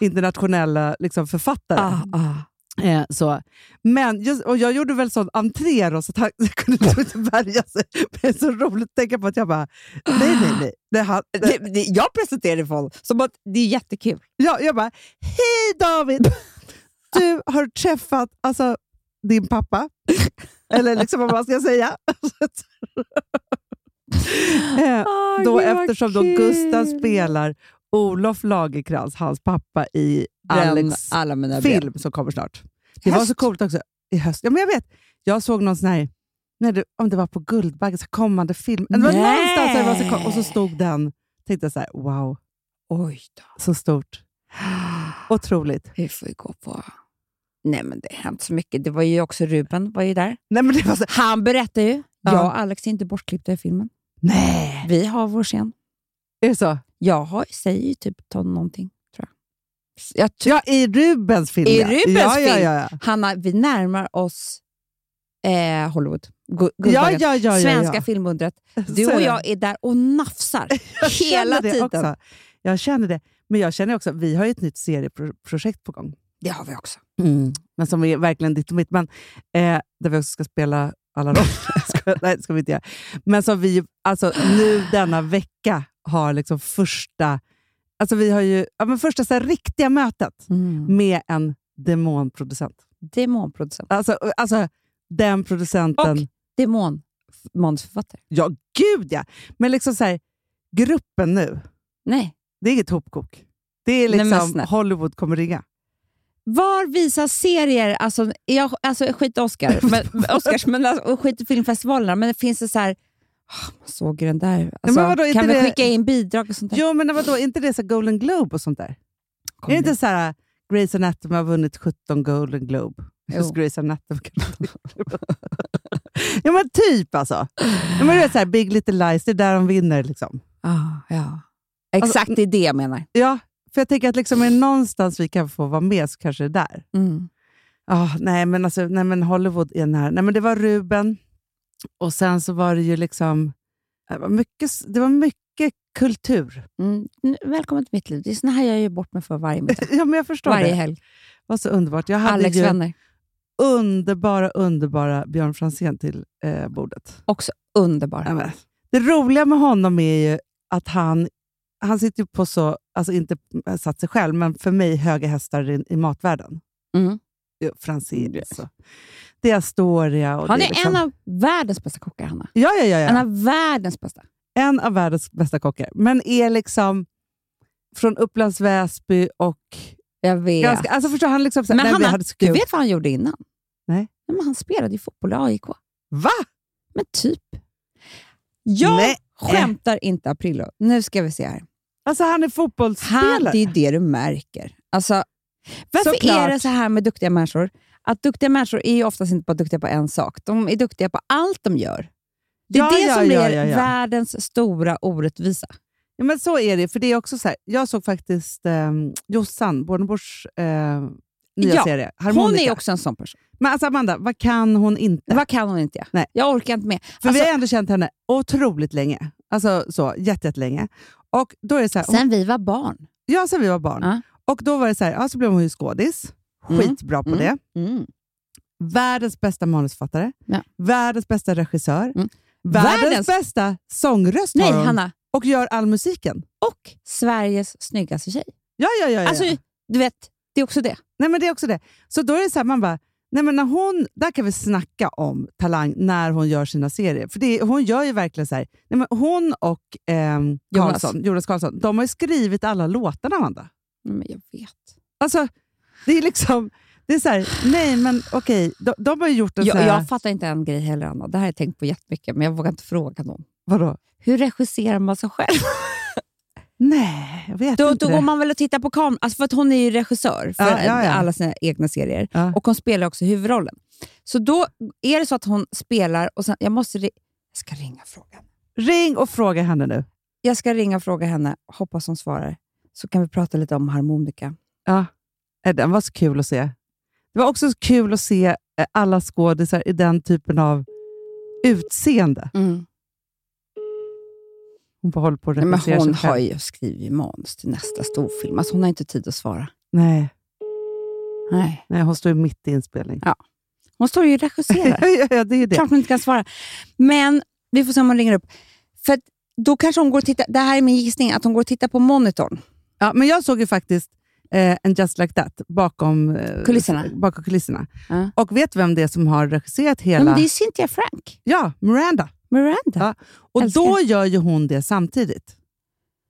Speaker 7: internationella liksom författare.
Speaker 6: ah, ah.
Speaker 7: Eh, så. Men just, och jag gjorde väl sån entré då, så att han kunde liksom inte värja sig. Men det är så roligt att tänka på att jag bara, nej, nej, nej. Det, han, det,
Speaker 6: Det, det, jag presenterade folk som att det är jättekul.
Speaker 7: Ja, jag bara, hej David! Du har träffat alltså, din pappa. Eller liksom vad man ska säga. Eh, då, eftersom då Gustav spelar Olof Lagercrantz, hans pappa, i Alex
Speaker 6: alla mina brev.
Speaker 7: film som kommer snart. Det var så
Speaker 6: Höst.
Speaker 7: coolt också. I höst. Ja, men jag vet. Jag såg någon sån här, när det, om det var på Guldbaggen, så här kommande film. Det var
Speaker 6: Nej.
Speaker 7: någonstans där det var så kom, och så stod den. Tänkte jag så här, wow,
Speaker 6: Oj då.
Speaker 7: så stort. Otroligt.
Speaker 6: Vi får ju gå på... Nej, men det har hänt så mycket. Det var ju också Ruben var ju där.
Speaker 7: Nej, men det var så...
Speaker 6: Han berättar ju.
Speaker 7: Ja.
Speaker 6: Jag och Alex är inte bortklippta i filmen.
Speaker 7: Nej!
Speaker 6: Vi har vår scen.
Speaker 7: Är det så?
Speaker 6: Jag har, säger ju typ ta någonting, tror jag. jag tror,
Speaker 7: Ja, i Rubens film.
Speaker 6: I
Speaker 7: ja.
Speaker 6: Rubens
Speaker 7: ja, ja,
Speaker 6: film.
Speaker 7: ja, ja.
Speaker 6: Hanna, vi närmar oss eh, Hollywood. Gu-
Speaker 7: Ja,
Speaker 6: Guldbaggen.
Speaker 7: ja, ja, ja,
Speaker 6: Svenska
Speaker 7: ja.
Speaker 6: filmundret.
Speaker 7: Så
Speaker 6: Du
Speaker 7: är
Speaker 6: och
Speaker 7: det.
Speaker 6: jag är där och nafsar
Speaker 7: Jag känner
Speaker 6: hela
Speaker 7: det
Speaker 6: tiden.
Speaker 7: Också. Jag känner det. Men jag känner också, vi har ju ett nytt serieprojekt på gång.
Speaker 6: Det har vi också.
Speaker 7: Men som är verkligen ditt och mitt. Men, eh, där vi också ska spela alla roller. Ska- Nej, det ska vi inte göra. Men som vi ju- alltså, nu denna vecka har liksom första Alltså vi har ju ja, men första så här, riktiga mötet
Speaker 6: Mm.
Speaker 7: med en demonproducent.
Speaker 6: Demonproducent.
Speaker 7: Alltså, alltså den producenten...
Speaker 6: Och demon manusförfattare.
Speaker 7: Ja, gud ja! Men liksom så här, gruppen nu,
Speaker 6: Nej.
Speaker 7: det är inget hopkok. Det är
Speaker 6: Nej, men
Speaker 7: liksom
Speaker 6: snälla.
Speaker 7: Hollywood kommer ringa.
Speaker 6: Var visas serier, alltså, jag, alltså jag skiter i Oscar, men, Oscars, men, alltså, och skit i filmfestivalerna, men det finns det så här, ah, man såg ju den där. Alltså,
Speaker 7: men vadå, är
Speaker 6: kan
Speaker 7: inte
Speaker 6: vi
Speaker 7: det-
Speaker 6: skicka in bidrag och sånt där?
Speaker 7: Jo, men vadå, är inte det så här Golden Globe och sånt där?
Speaker 6: Kom
Speaker 7: är det
Speaker 6: nu.
Speaker 7: inte så här, Grey's Anatomy har vunnit 17 Golden Globe?
Speaker 6: Jo.
Speaker 7: Just Grey's Anatomy kanske. ja, men typ alltså. Ja, men det är så här, Big Little Lies, det är där de vinner. Liksom.
Speaker 6: Ah, ja.
Speaker 7: alltså,
Speaker 6: Exakt, det är det jag menar.
Speaker 7: Ja, för jag tänker att liksom, är det någonstans vi kan få vara med så kanske det är där.
Speaker 6: Mm.
Speaker 7: ah, nej, men alltså, nej, men Hollywood är den här. Nej, men det var Ruben och sen så var det ju liksom... Det var mycket, det var mycket kultur.
Speaker 6: Mm. N- Välkommen till mitt liv. Det är såna här jag gör bort mig för varje middag.
Speaker 7: ja, men jag förstår
Speaker 6: varje
Speaker 7: det.
Speaker 6: helg.
Speaker 7: var så underbart. Jag hade
Speaker 6: Alex
Speaker 7: ju
Speaker 6: vänner.
Speaker 7: underbara, underbara Björn Franzén till eh, bordet.
Speaker 6: Också underbar.
Speaker 7: Ja, men, Det roliga med honom är ju att han, han sitter ju på så, alltså inte eh, satt sig själv, men för mig höga hästar i, i matvärlden.
Speaker 6: Mm.
Speaker 7: Jo, Franzén alltså. Det är Astoria. Och
Speaker 6: Han
Speaker 7: det
Speaker 6: är
Speaker 7: liksom-
Speaker 6: en av världens bästa kockar, Hanna.
Speaker 7: Ja, ja, ja, ja.
Speaker 6: En av världens bästa.
Speaker 7: en av världens bästa kockar, men är liksom från Upplands Väsby och...
Speaker 6: Jag vet.
Speaker 7: Ganska, alltså förstår han liksom... så här,
Speaker 6: Men
Speaker 7: nej, vi
Speaker 6: Hanna,
Speaker 7: hade så
Speaker 6: Du
Speaker 7: kul.
Speaker 6: vet vad han gjorde innan?
Speaker 7: Nej.
Speaker 6: men han spelade ju fotboll i AIK.
Speaker 7: Va?
Speaker 6: Men typ. Jag
Speaker 7: Nej.
Speaker 6: skämtar inte, Aprillo. Nu ska vi se här.
Speaker 7: Alltså han är
Speaker 6: Han,
Speaker 7: fotbollsspelare.
Speaker 6: det är ju det du märker. Alltså, varför
Speaker 7: Såklart.
Speaker 6: är det så här med duktiga människor? Att duktiga människor är ju oftast inte bara duktiga på en sak. De är duktiga på allt de gör. Det är
Speaker 7: Ja,
Speaker 6: det
Speaker 7: ja,
Speaker 6: som
Speaker 7: ja,
Speaker 6: är
Speaker 7: ja, ja.
Speaker 6: världens stora orättvisa.
Speaker 7: Ja, men så är det. För det är också så här, jag såg faktiskt eh, Jossan Bornebuschs eh, nya
Speaker 6: Ja,
Speaker 7: serie,
Speaker 6: Hon
Speaker 7: Harmonica.
Speaker 6: är också en sån person.
Speaker 7: Men alltså Amanda, vad kan hon inte?
Speaker 6: Vad kan hon inte göra?
Speaker 7: Nej.
Speaker 6: Jag orkar inte med.
Speaker 7: För
Speaker 6: Alltså,
Speaker 7: vi har ändå känt henne otroligt länge. Alltså så, jätte, jättelänge. Och då är det så här,
Speaker 6: Alltså, Sen vi var barn.
Speaker 7: ja, sen vi var barn.
Speaker 6: Ja.
Speaker 7: Och då var det så här, ja, så blev hon ju skådis.
Speaker 6: Mm.
Speaker 7: Skitbra på
Speaker 6: Mm.
Speaker 7: det.
Speaker 6: Mm.
Speaker 7: världens bästa manusfattare,
Speaker 6: Ja.
Speaker 7: världens bästa regissör,
Speaker 6: Mm.
Speaker 7: världens,
Speaker 6: Världens-
Speaker 7: bästa sångröst
Speaker 6: Nej,
Speaker 7: har hon
Speaker 6: Hanna.
Speaker 7: och gör all musiken.
Speaker 6: Och Sveriges snyggaste tjej.
Speaker 7: Ja, ja, ja. ja.
Speaker 6: Alltså, du vet, det är också det.
Speaker 7: nej, men det är också det. Så då är det så här, man bara, nej, men när hon, där kan vi snacka om talang när hon gör sina serier. För det, är- hon gör ju verkligen så här, nej, men hon och ehm,
Speaker 6: Jonas.
Speaker 7: Karlsson, Jonas Karlsson, de har ju skrivit alla låtarna, Amanda.
Speaker 6: Mm, Men jag vet.
Speaker 7: Alltså, det är liksom, det är så här, nej men okej, de, de har ju gjort en så
Speaker 6: Jag,
Speaker 7: här,
Speaker 6: jag fattar inte en grej heller, Anna. Det här har jag tänkt på jättemycket, men jag vågar inte fråga någon.
Speaker 7: vadå?
Speaker 6: Hur regisserar man sig själv?
Speaker 7: Nej, jag vet
Speaker 6: Då,
Speaker 7: inte
Speaker 6: då
Speaker 7: det.
Speaker 6: går man väl och tittar på kameran, alltså för att hon är ju regissör för
Speaker 7: Ja, ja, ja.
Speaker 6: alla sina egna serier.
Speaker 7: Ja.
Speaker 6: Och hon spelar också huvudrollen. Så då är det så att hon spelar och sen, jag måste ri- jag ska ringa och fråga henne.
Speaker 7: Ring och fråga henne nu.
Speaker 6: Jag ska ringa och fråga henne, hoppas hon svarar. Så kan vi prata lite om harmonika.
Speaker 7: Ja. Eh, Den var så kul att se. Det var också så kul att se eh, alla skådisar i den typen av utseende. Hon bara håller på att
Speaker 6: Nej, men
Speaker 7: regissera sig
Speaker 6: hon har
Speaker 7: själv.
Speaker 6: ju skrivit manus till nästa storfilm, alltså hon har inte tid att svara.
Speaker 7: Nej,
Speaker 6: Nej.
Speaker 7: nej, hon står ju mitt i inspelning.
Speaker 6: Ja, Hon står ju och regisserar.
Speaker 7: Ja, ja, ja, det är ju det.
Speaker 6: klart hon inte kan svara. Men vi får se om hon ringer upp. För att då kanske hon går och tittar, det här är min gissning, att hon går och tittar på monitorn.
Speaker 7: Ja, men jag såg ju faktiskt eh, en Just Like That bakom eh,
Speaker 6: Kulisserna.
Speaker 7: Bakom kulisserna.
Speaker 6: Ja.
Speaker 7: Och vet du vem det är som har regisserat
Speaker 6: Ja,
Speaker 7: hela...
Speaker 6: men det är Cynthia Frank,
Speaker 7: Ja, Miranda.
Speaker 6: Miranda.
Speaker 7: Ja. Och
Speaker 6: Älskar.
Speaker 7: då gör ju hon det samtidigt.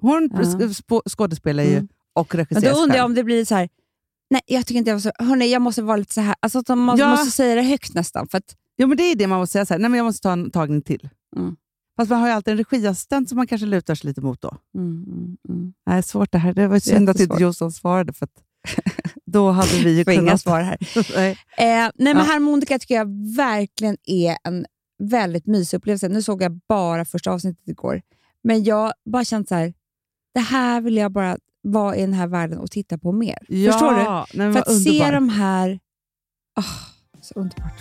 Speaker 7: Hon
Speaker 6: Ja.
Speaker 7: sp- skådespelar ju
Speaker 6: Mm.
Speaker 7: och
Speaker 6: Men
Speaker 7: regisserar
Speaker 6: då
Speaker 7: sig
Speaker 6: undrar
Speaker 7: själv.
Speaker 6: jag om det blir så här, nej jag tycker inte jag var så, hörni jag måste vara lite så här. Alltså att man
Speaker 7: Ja.
Speaker 6: måste säga det högt nästan. För att,
Speaker 7: Ja, men det är det man måste säga. Så här, Nej, men jag måste ta en tagning till.
Speaker 6: Mm.
Speaker 7: Fast man har ju alltid en regiassistent som man kanske lutar sig lite mot då. mm, Nej, svårt det här. Det var synd att inte
Speaker 6: Jättesvårt.
Speaker 7: Jossan svarade, för att då hade vi ju
Speaker 6: Får inga
Speaker 7: kunnat...
Speaker 6: svar här.
Speaker 7: Nej.
Speaker 6: Eh, nej men
Speaker 7: Ja.
Speaker 6: harmonika tycker jag verkligen är en väldigt mysig upplevelse. Nu såg jag bara första avsnittet igår, men jag bara känt så här, det här vill jag bara vara i den här världen och titta på mer.
Speaker 7: Ja,
Speaker 6: Förstår du?
Speaker 7: Nej, men
Speaker 6: För
Speaker 7: vad
Speaker 6: att
Speaker 7: underbar.
Speaker 6: se de här... Åh, så underbart.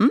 Speaker 6: Mm.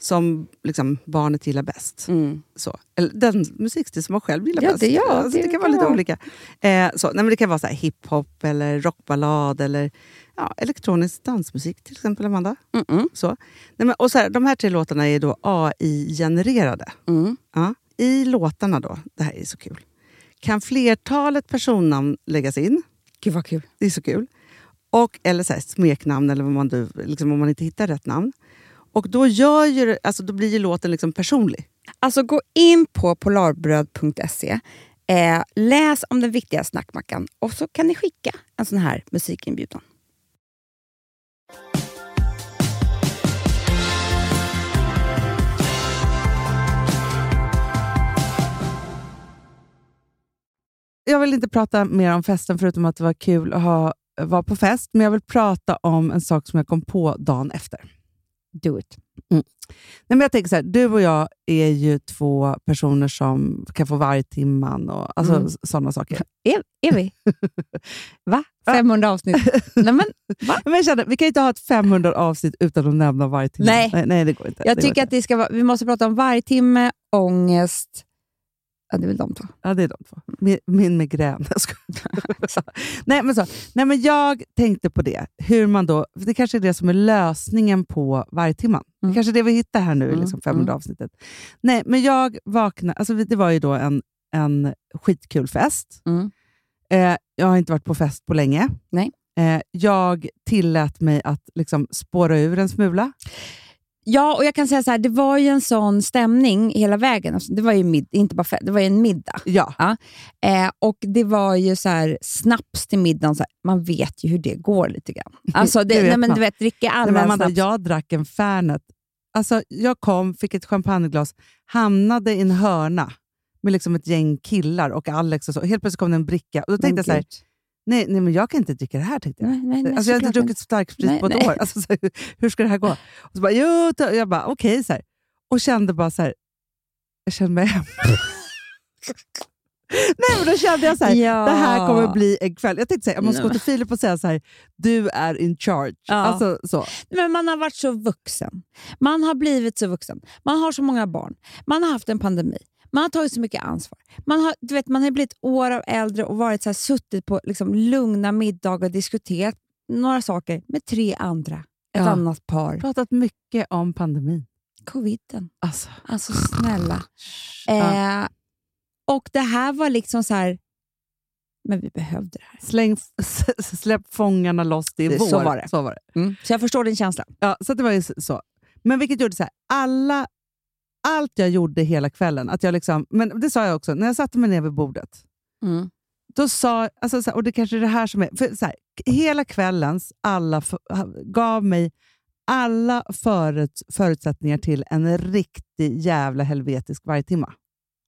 Speaker 7: som liksom, barnet gillar bäst.
Speaker 6: Mm.
Speaker 7: så. Eller den musikstil som man själv gillar
Speaker 6: Ja,
Speaker 7: bäst.
Speaker 6: det- ja,
Speaker 7: alltså, det,
Speaker 6: det
Speaker 7: kan vara lite
Speaker 6: kan
Speaker 7: olika. Eh, så. Nej, men det kan vara så här hiphop, eller rockballad eller ja, elektronisk dansmusik till exempel, Amanda.
Speaker 6: Mm-mm.
Speaker 7: Så. Nej, men, och så här, de här tre låtarna är då AI-genererade.
Speaker 6: Mm.
Speaker 7: Ja. I låtarna då, det här är så kul, kan flertalet personnamn läggas in.
Speaker 6: Gud vad kul.
Speaker 7: Det är så kul. Och, eller så här, smeknamn, eller vad man, du- liksom, om man inte hittar rätt namn. Och då, gör ju, det- alltså, då blir ju låten liksom personlig.
Speaker 6: Alltså gå in på polarbröd.se, eh, läs om den viktiga snackmackan och så kan ni skicka en sån här musikinbjudan.
Speaker 7: jag vill inte prata mer om festen förutom att det var kul att ha, vara på fest, men jag vill prata om en sak som jag kom på dagen efter. Mm.
Speaker 6: Do it.
Speaker 7: Nej, men jag tänker så här, du och jag är ju två personer som kan få vargtimman och alltså,
Speaker 6: Mm.
Speaker 7: sådana saker.
Speaker 6: Är, är vi? Va? 500 avsnitt? Nej, men,
Speaker 7: Men jag känner, vi kan ju inte ha ett 500 avsnitt utan att nämna vargtimman.
Speaker 6: Nej.
Speaker 7: nej, nej, det går inte.
Speaker 6: Jag
Speaker 7: det går
Speaker 6: tycker att
Speaker 7: inte.
Speaker 6: det ska vara, vi måste prata om vargtimme, ångest. Ja, det är väl de två.
Speaker 7: Ja, det är de två. Min, min migrän. Jag skojar. nej, men så. Nej, men jag tänkte på det. Hur man då, för det kanske är det som är lösningen på vargtimman. Det
Speaker 6: Mm.
Speaker 7: kanske är det vi hittar här nu i
Speaker 6: Mm,
Speaker 7: liksom 500 avsnittet. Nej, men jag vaknade... Alltså, vi- det var ju då en, en skitkul fest.
Speaker 6: Mm.
Speaker 7: Eh, jag har inte varit på fest på länge.
Speaker 6: Nej.
Speaker 7: Eh, jag tillät mig att liksom spåra ur en smula.
Speaker 6: Ja, och jag kan säga så här, det var ju en sån stämning hela vägen. Alltså, Det var ju, mid, inte bara fest, det var ju en middag.
Speaker 7: Ja.
Speaker 6: Eh, och det var ju så här, snaps till middagen, så här, man vet ju hur det går lite grann. Alltså, det,
Speaker 7: Det vet
Speaker 6: nej, men,
Speaker 7: man.
Speaker 6: du vet, dricker alla
Speaker 7: Nej, men Amanda,
Speaker 6: snaps.
Speaker 7: jag drack en Fernet. Alltså, jag kom, fick ett champagneglas, hamnade i en hörna med liksom ett gäng killar och Alex och så. Helt plötsligt kom det en bricka och då
Speaker 6: Men
Speaker 7: tänkte jag så här,
Speaker 6: gud.
Speaker 7: Nej, nej, men jag kan inte dricka det här tänkte jag.
Speaker 9: Nej, nej, nej,
Speaker 7: alltså, jag har inte
Speaker 9: såklart
Speaker 7: druckit starksprit
Speaker 9: Nej,
Speaker 7: på ett
Speaker 9: nej.
Speaker 7: år. Alltså, så, här, hur ska det här gå? Och så bara, jo, ta- jag bara, okej. så här. och kände bara så här, jag kände mig hemma. nej, men då kände jag så här,
Speaker 9: Ja.
Speaker 7: det här kommer bli en kväll. Jag tänkte så här, jag måste
Speaker 9: Nej.
Speaker 7: gå till Filip och säga så här, du är in charge.
Speaker 9: Ja.
Speaker 7: Alltså, så.
Speaker 6: Men man har varit så vuxen. Man har blivit så vuxen. Man har så många barn. Man har haft en pandemi. Man har tagit så mycket ansvar. Man har, du vet, man har blivit år av äldre och varit så här, suttit på liksom, lugna middagar och diskuterat några saker med tre andra. Ett
Speaker 7: Ja.
Speaker 6: annat par.
Speaker 7: Pratat mycket om pandemin.
Speaker 6: Coviden.
Speaker 7: Alltså,
Speaker 6: Alltså snälla.
Speaker 7: ja.
Speaker 6: Eh, och det här var liksom så här... Men vi behövde det här.
Speaker 7: Släng, s- släpp fångarna loss, det är
Speaker 6: Det-
Speaker 7: vår.
Speaker 6: så var det.
Speaker 7: Så var det.
Speaker 6: Så jag förstår din känsla.
Speaker 7: Ja, så att det var ju s- så. Men vilket gjorde så här, alla, allt jag gjorde hela kvällen, att jag liksom, men det sa jag också, när jag satte mig ner vid bordet,
Speaker 6: Mm.
Speaker 7: då sa, alltså så här, och det kanske är det här som är, för så här, k- hela kvällens alla f- ha- gav mig alla förut, förutsättningar till en riktig jävla helvetisk vargtimma.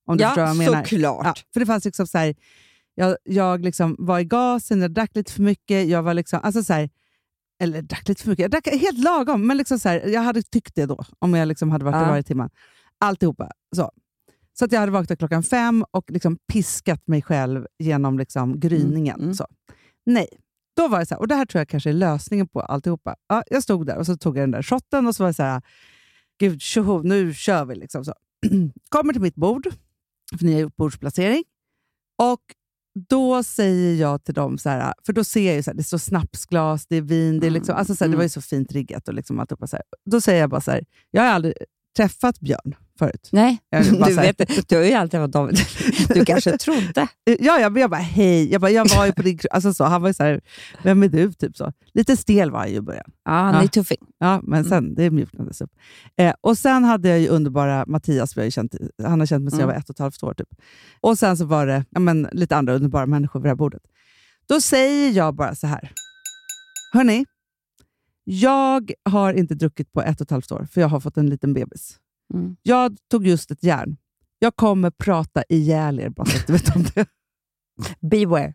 Speaker 7: Om du förstår vad jag menar.
Speaker 6: såklart.
Speaker 7: Ja, för det fanns liksom så här, jag, jag liksom var i gasen, jag drack lite för mycket. Jag var liksom, alltså så här, eller drack lite för mycket, jag drack helt lagom. Men liksom så här, jag hade tyckt det då, om jag liksom hade varit
Speaker 6: Ja.
Speaker 7: i varje timme. Alltihopa. Så. så att jag hade vaknat klockan fem och liksom piskat mig själv genom liksom gryningen. Så. Nej, då var det så här, och det här tror jag kanske är lösningen på alltihopa. Ja, jag stod där och så tog jag den där shotten och så var jag så här, gud tjoho, nu kör vi. Liksom så. Kommer till mitt bord, för ni har gjort bordsplacering. Och då säger jag till dem, så här, för då ser jag ju så här, det står snapsglas, det är vin, det, är liksom,
Speaker 6: Mm.
Speaker 7: alltså så här, det var ju så fint riggat. Och liksom alltihopa, så här. Då säger jag bara så här, jag har aldrig träffat Björn förut.
Speaker 6: Nej,
Speaker 7: Jag vill bara
Speaker 6: du
Speaker 7: så här-
Speaker 6: vet, du har ju alltid varit David. Du kanske trodde.
Speaker 7: Ja, jag, jag bara hej. Jag, bara, jag var ju på din kro- alltså så, Han var ju så här, vem är du? Typ så. Lite stel var han ju i början.
Speaker 6: Ja, han är
Speaker 7: Ja.
Speaker 6: ju tuffing.
Speaker 7: Ja, men
Speaker 6: Mm.
Speaker 7: sen, det mjuknades upp. Eh, och sen hade jag ju underbara Mattias, som jag har ju känt, han har känt mig sedan
Speaker 6: Mm.
Speaker 7: jag var ett och ett halvt år. Typ. Och sen så var det ja, men, lite andra underbara människor vid det här bordet. Då säger jag bara så här. Hörni, jag har inte druckit på ett och ett halvt år, för jag har fått en liten bebis.
Speaker 6: Mm.
Speaker 7: Jag tog just ett järn. Jag kommer prata ihjäl er, bara så att du vet om det.
Speaker 6: Beware.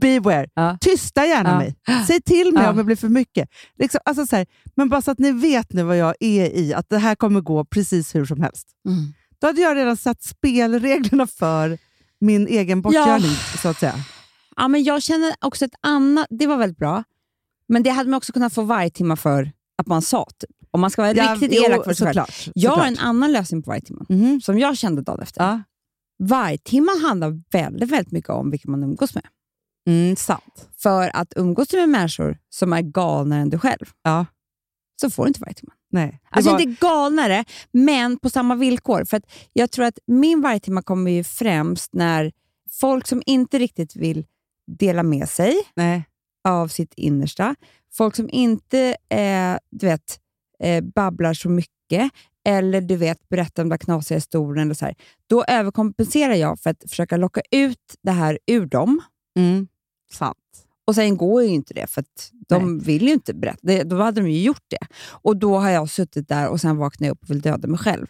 Speaker 7: Beware.
Speaker 6: Ja.
Speaker 7: Tysta gärna
Speaker 6: Ja.
Speaker 7: mig. Säg till mig
Speaker 6: Ja.
Speaker 7: om det blir för mycket. Liksom, alltså så här, men bara så att ni vet nu vad jag är i, att det här kommer gå precis hur som helst.
Speaker 6: Mm.
Speaker 7: Då hade jag redan satt spelreglerna för min egen bortgörning, så att säga.
Speaker 6: Ja, men jag känner också ett annat... Det var väldigt bra, men det hade man också kunnat få varje timme för att man sa. Typ. Om man ska vara
Speaker 7: Ja,
Speaker 6: riktigt
Speaker 7: jo,
Speaker 6: elak för sig själv.
Speaker 7: såklart,
Speaker 6: Jag har
Speaker 7: såklart.
Speaker 6: en annan lösning på varje timme,
Speaker 7: Mhm.
Speaker 6: som jag kände dagen efter.
Speaker 7: Ja.
Speaker 6: Vargtimman handlar väldigt, väldigt mycket om vilka man umgås med.
Speaker 7: Mm, sant.
Speaker 6: För att umgås du med människor som är galnare än du själv,
Speaker 7: Ja.
Speaker 6: så får du inte vargtimman.
Speaker 7: Nej. Det
Speaker 6: Alltså
Speaker 7: var-
Speaker 6: inte galnare, men på samma villkor. För att Jag tror att min vargtimma kommer ju främst när folk som inte riktigt vill dela med sig
Speaker 7: nej.
Speaker 6: av sitt innersta, folk som inte eh, du vet, eh, babblar så mycket, eller du vet, berättar om de där knasiga historierna. Eller så här. Då överkompenserar jag för att försöka locka ut det här ur dem.
Speaker 7: Mm, sant.
Speaker 6: Och sen går ju inte det, för att de vill ju inte berätta. Det, då hade de ju gjort det. Och då har jag suttit där och sen vaknat upp och vill döda mig själv.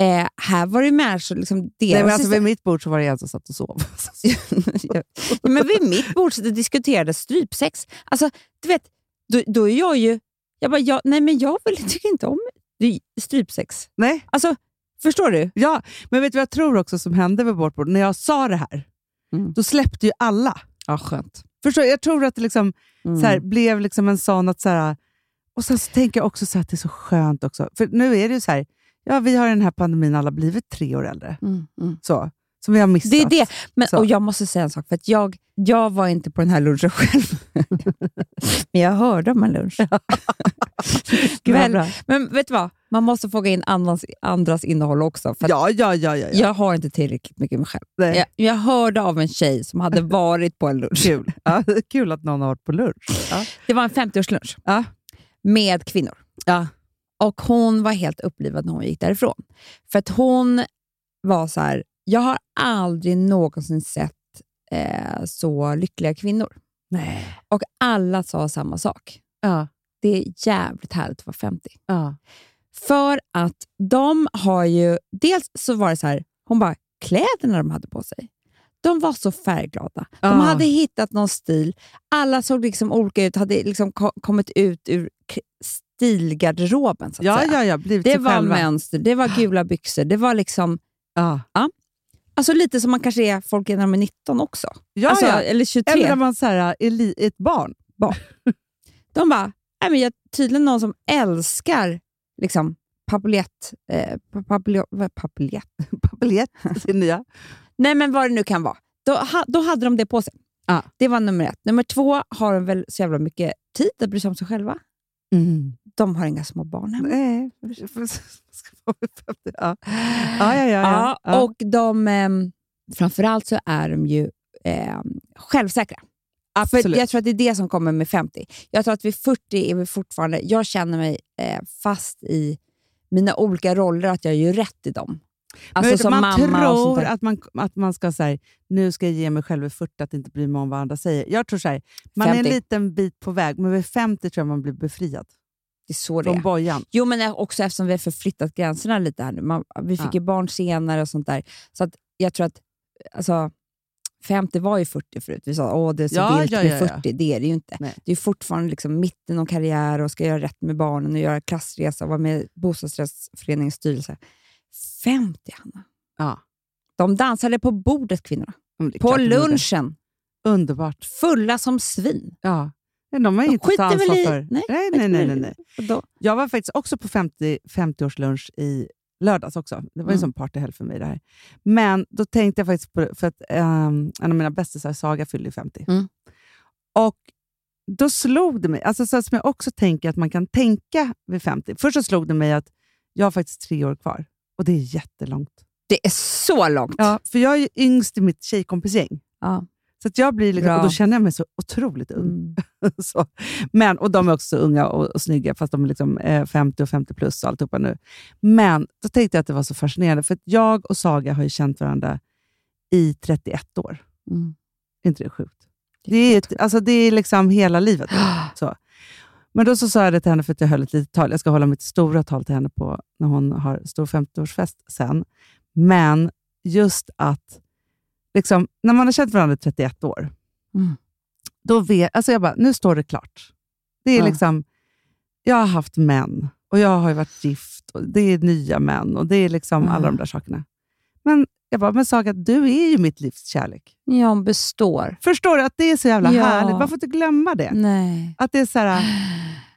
Speaker 6: Eh, här var det ju människor, liksom deras
Speaker 7: Nej, men alltså,
Speaker 6: historia-
Speaker 7: vid mitt bord så var det en som satt och sov.
Speaker 6: Ja, men vid mitt bord så diskuterades strypsex. Alltså, du vet, då, då är jag ju... Jag bara, jag, nej men jag vill, tycker inte om dy- strypsex.
Speaker 7: nej.
Speaker 6: Alltså, förstår du?
Speaker 7: Ja, men vet du vad jag tror också som hände med vårt bord? När jag sa det här,
Speaker 6: Mm.
Speaker 7: då släppte ju alla.
Speaker 6: Ja, skönt.
Speaker 7: Förstår, du? jag tror att det liksom,
Speaker 6: Mm.
Speaker 7: så här, blev liksom en sån att... Så här, och sen så tänker jag också så här, att det är så skönt också. För nu är det ju så här, ja vi har i den här pandemin alla blivit tre år äldre.
Speaker 6: Mm, mm.
Speaker 7: Så, som vi har missat.
Speaker 6: Det är det. Men,
Speaker 7: Så.
Speaker 6: och jag måste säga en sak, för att jag, jag var inte på den här lunchen själv. men jag hörde om en lunch.
Speaker 7: Gud, vad
Speaker 6: men,
Speaker 7: bra.
Speaker 6: men vet du vad? Man måste fråga in andras, andras innehåll också. För att
Speaker 7: Ja, ja, ja. ja, ja.
Speaker 6: Jag har inte tillräckligt mycket mig själv.
Speaker 7: Nej.
Speaker 6: Jag, jag hörde av en tjej som hade varit på en lunch.
Speaker 7: Kul. Ja, kul att någon har varit på lunch. Ja.
Speaker 6: Det var en 50-årslunch
Speaker 7: Ja.
Speaker 6: med kvinnor.
Speaker 7: Ja.
Speaker 6: Och Hon var helt upplivad när hon gick därifrån. För att hon var så här, jag har aldrig någonsin sett eh, så lyckliga kvinnor.
Speaker 7: Nej.
Speaker 6: Och alla sa samma sak.
Speaker 7: Ja.
Speaker 6: Det är jävligt härligt att vara 50.
Speaker 7: Ja.
Speaker 6: För att de har ju... Dels så var det så här, hon bara, kläderna de hade på sig. De var så färgglada. De hade hittat någon stil. Alla såg liksom olika ut, hade liksom ko- kommit ut ur k- stilgarderoben. Så att
Speaker 7: Ja,
Speaker 6: säga.
Speaker 7: ja, ja. Blivit
Speaker 6: Det
Speaker 7: sig
Speaker 6: var
Speaker 7: själva. Ah.
Speaker 6: mönster, det var gula byxor, det var liksom...
Speaker 7: Ja.
Speaker 6: Alltså lite som man kanske är folk när de är 19 också.
Speaker 7: Ja,
Speaker 6: alltså,
Speaker 7: ja.
Speaker 6: Eller 23.
Speaker 7: Eller när man så här, är li- ett barn.
Speaker 6: barn. De bara, nej men jag är tydligen någon som älskar liksom papiljett... Eh, pa- papiljo- vad- papiljett?
Speaker 7: Biljett, det nya.
Speaker 6: Nej men vad det nu kan vara. Då, ha, då hade de det på sig.
Speaker 7: Ja.
Speaker 6: Det var nummer ett. Nummer två har de väl så jävla mycket tid att bry sig om sig själva.
Speaker 7: Mm.
Speaker 6: De har inga små barn hemma.
Speaker 7: Nej. Ska vara vid 50. Ja. Ja, ja, ja, ja. ja.
Speaker 6: Och de, ehm, framförallt så är de ju ehm, självsäkra. För
Speaker 7: Absolut.
Speaker 6: jag tror att det är det som kommer med 50. Jag tror att vid 40 är vi fortfarande... Jag känner mig eh, fast i mina olika roller, att jag gör rätt i dem. Alltså
Speaker 7: Men
Speaker 6: som
Speaker 7: man
Speaker 6: mamma och sånt
Speaker 7: tror
Speaker 6: där.
Speaker 7: att man, att man ska säga nu ska jag ge mig själv i 40 att inte bry mig om vad andra säger. Jag tror så här, man är
Speaker 6: 50.
Speaker 7: en liten bit på väg, men vid 50 tror jag man blir befriad
Speaker 6: Det är så det
Speaker 7: från
Speaker 6: är.
Speaker 7: bojan.
Speaker 6: Jo, men också eftersom vi har förflyttat gränserna lite här nu. Man, vi fick
Speaker 7: Ja.
Speaker 6: ju barn senare och sånt där. Så att jag tror att alltså, 50 var ju 40 förut. Vi sa att det är så
Speaker 7: Ja,
Speaker 6: vilt
Speaker 7: ja,
Speaker 6: med
Speaker 7: ja, ja.
Speaker 6: 40. Det är det ju inte.
Speaker 7: Nej.
Speaker 6: Det är fortfarande liksom mitten av karriär och ska göra rätt med barnen och göra klassresa och vara med i bostadsrättsföreningens styrelse. 50, Hanna.
Speaker 7: Ja.
Speaker 6: De dansade på bordet, kvinnorna.
Speaker 7: Men det är
Speaker 6: På
Speaker 7: klart de gjorde.
Speaker 6: lunchen.
Speaker 7: Underbart.
Speaker 6: Fulla som svin.
Speaker 7: Ja. Men De har inget att ta
Speaker 6: skiter väl
Speaker 7: ansvar
Speaker 6: i-
Speaker 7: för.
Speaker 6: Nej,
Speaker 7: Nej, nej, nej, nej, nej.
Speaker 6: Och då,
Speaker 7: Jag var faktiskt också på 50 50-årslunch i lördags också. Det var ju
Speaker 6: Mm.
Speaker 7: en sån partyhelg för mig det här. Men då tänkte jag faktiskt på för att ehm, en av mina bästisar, Saga, fyllde ju 50.
Speaker 6: Mm.
Speaker 7: Och då slog det mig, alltså så som jag också tänker att man kan tänka vid 50. Först så slog det mig att jag har faktiskt tre år kvar och det är jättelångt.
Speaker 6: det är så långt.
Speaker 7: Ja, för jag är ju yngst i mitt tjejkompisgäng.
Speaker 6: Ja.
Speaker 7: Så att jag blir liksom,
Speaker 6: Bra.
Speaker 7: och då känner jag mig så otroligt ung.
Speaker 6: Mm.
Speaker 7: så. Men, och de är också unga och, och snygga, fast de är liksom, eh, 50 och 50 plus och alltihopa nu. Men då tänkte jag att det var så fascinerande, för att jag och Saga har ju känt varandra i 31 år.
Speaker 6: Mm.
Speaker 7: Är inte det sjukt? Det är, ett, alltså det är liksom hela livet. Så. Men då så sa jag det till henne, för att jag höll ett litet tal. Jag ska hålla mitt stora tal till henne på, när hon har stor 50-årsfest sen. Men just att, liksom, när man har känt varandra i 31 år,
Speaker 6: Mm.
Speaker 7: då vet, alltså jag bara, nu står det klart. Det är
Speaker 6: Ja.
Speaker 7: liksom, jag har haft män och jag har ju varit gift och det är nya män och det är liksom alla de där sakerna. Men jag bara, men Saga, du är ju mitt livs kärlek.
Speaker 6: Ja, hon består.
Speaker 7: Förstår du att det är så jävla
Speaker 6: Ja.
Speaker 7: härligt? Man får inte glömma det.
Speaker 6: Nej.
Speaker 7: Att det är så här,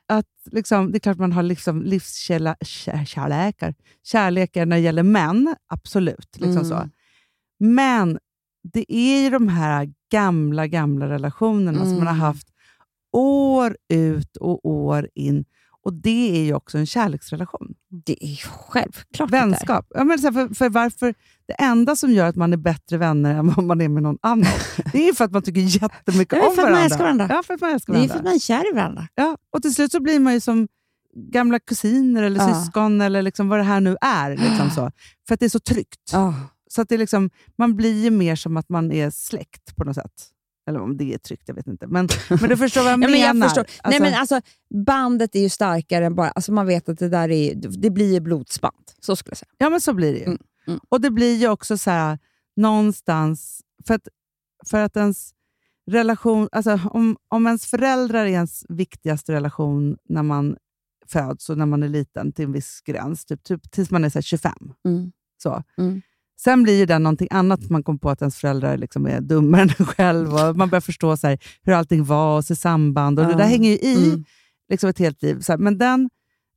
Speaker 7: att liksom, det är klart man har liksom livskälla, kä- kärlekar, kärlekar när det gäller män, absolut. Liksom
Speaker 6: Mm.
Speaker 7: så. Men det är ju de här gamla, gamla relationerna som man har
Speaker 6: Mm.
Speaker 7: haft år ut och år in. Och det är ju också en kärleksrelation.
Speaker 6: Det är ju självklart det där.
Speaker 7: Vänskap. Ja, men så här, för, för varför, det enda som gör att man är bättre vänner än vad man är med någon annan, det är ju för att man tycker
Speaker 6: Ja,
Speaker 7: jättemycket
Speaker 6: men för
Speaker 7: om
Speaker 6: att man
Speaker 7: varandra.
Speaker 6: älskar varandra.
Speaker 7: Ja, för att man älskar
Speaker 6: Det är ju
Speaker 7: varandra.
Speaker 6: för att man är kär i varandra.
Speaker 7: Ja, och till slut så blir man ju som gamla kusiner eller
Speaker 6: Ja.
Speaker 7: syskon eller liksom vad det här nu är. Liksom så. För att det är så tryggt. Så att det är liksom, man blir ju mer som att man är släkt på något sätt. Eller om det är tryggt, jag vet inte. Men, men du förstår vad jag
Speaker 6: Ja,
Speaker 7: menar.
Speaker 6: men jag förstår. Nej,
Speaker 7: Alltså,
Speaker 6: men alltså, bandet är ju starkare än bara... Alltså man vet att det där är, det blir ju blodsband. Så skulle jag säga.
Speaker 7: Ja, men så blir det ju.
Speaker 6: Mm, mm.
Speaker 7: Och det blir ju också så här, någonstans, för att, för att ens relation, alltså om, om ens föräldrar är ens viktigaste relation när man föds och när man är liten till en viss gräns, typ, typ tills man är så här 25.
Speaker 6: Mm.
Speaker 7: Så.
Speaker 6: Mm.
Speaker 7: Sen blir ju den någonting annat, man kommer på att ens föräldrar liksom är dummare än en själv och man börjar förstå så här, hur allting var och se samband. Och Det
Speaker 6: Ja.
Speaker 7: där hänger ju i
Speaker 6: Mm.
Speaker 7: liksom ett helt liv. Så här, men den,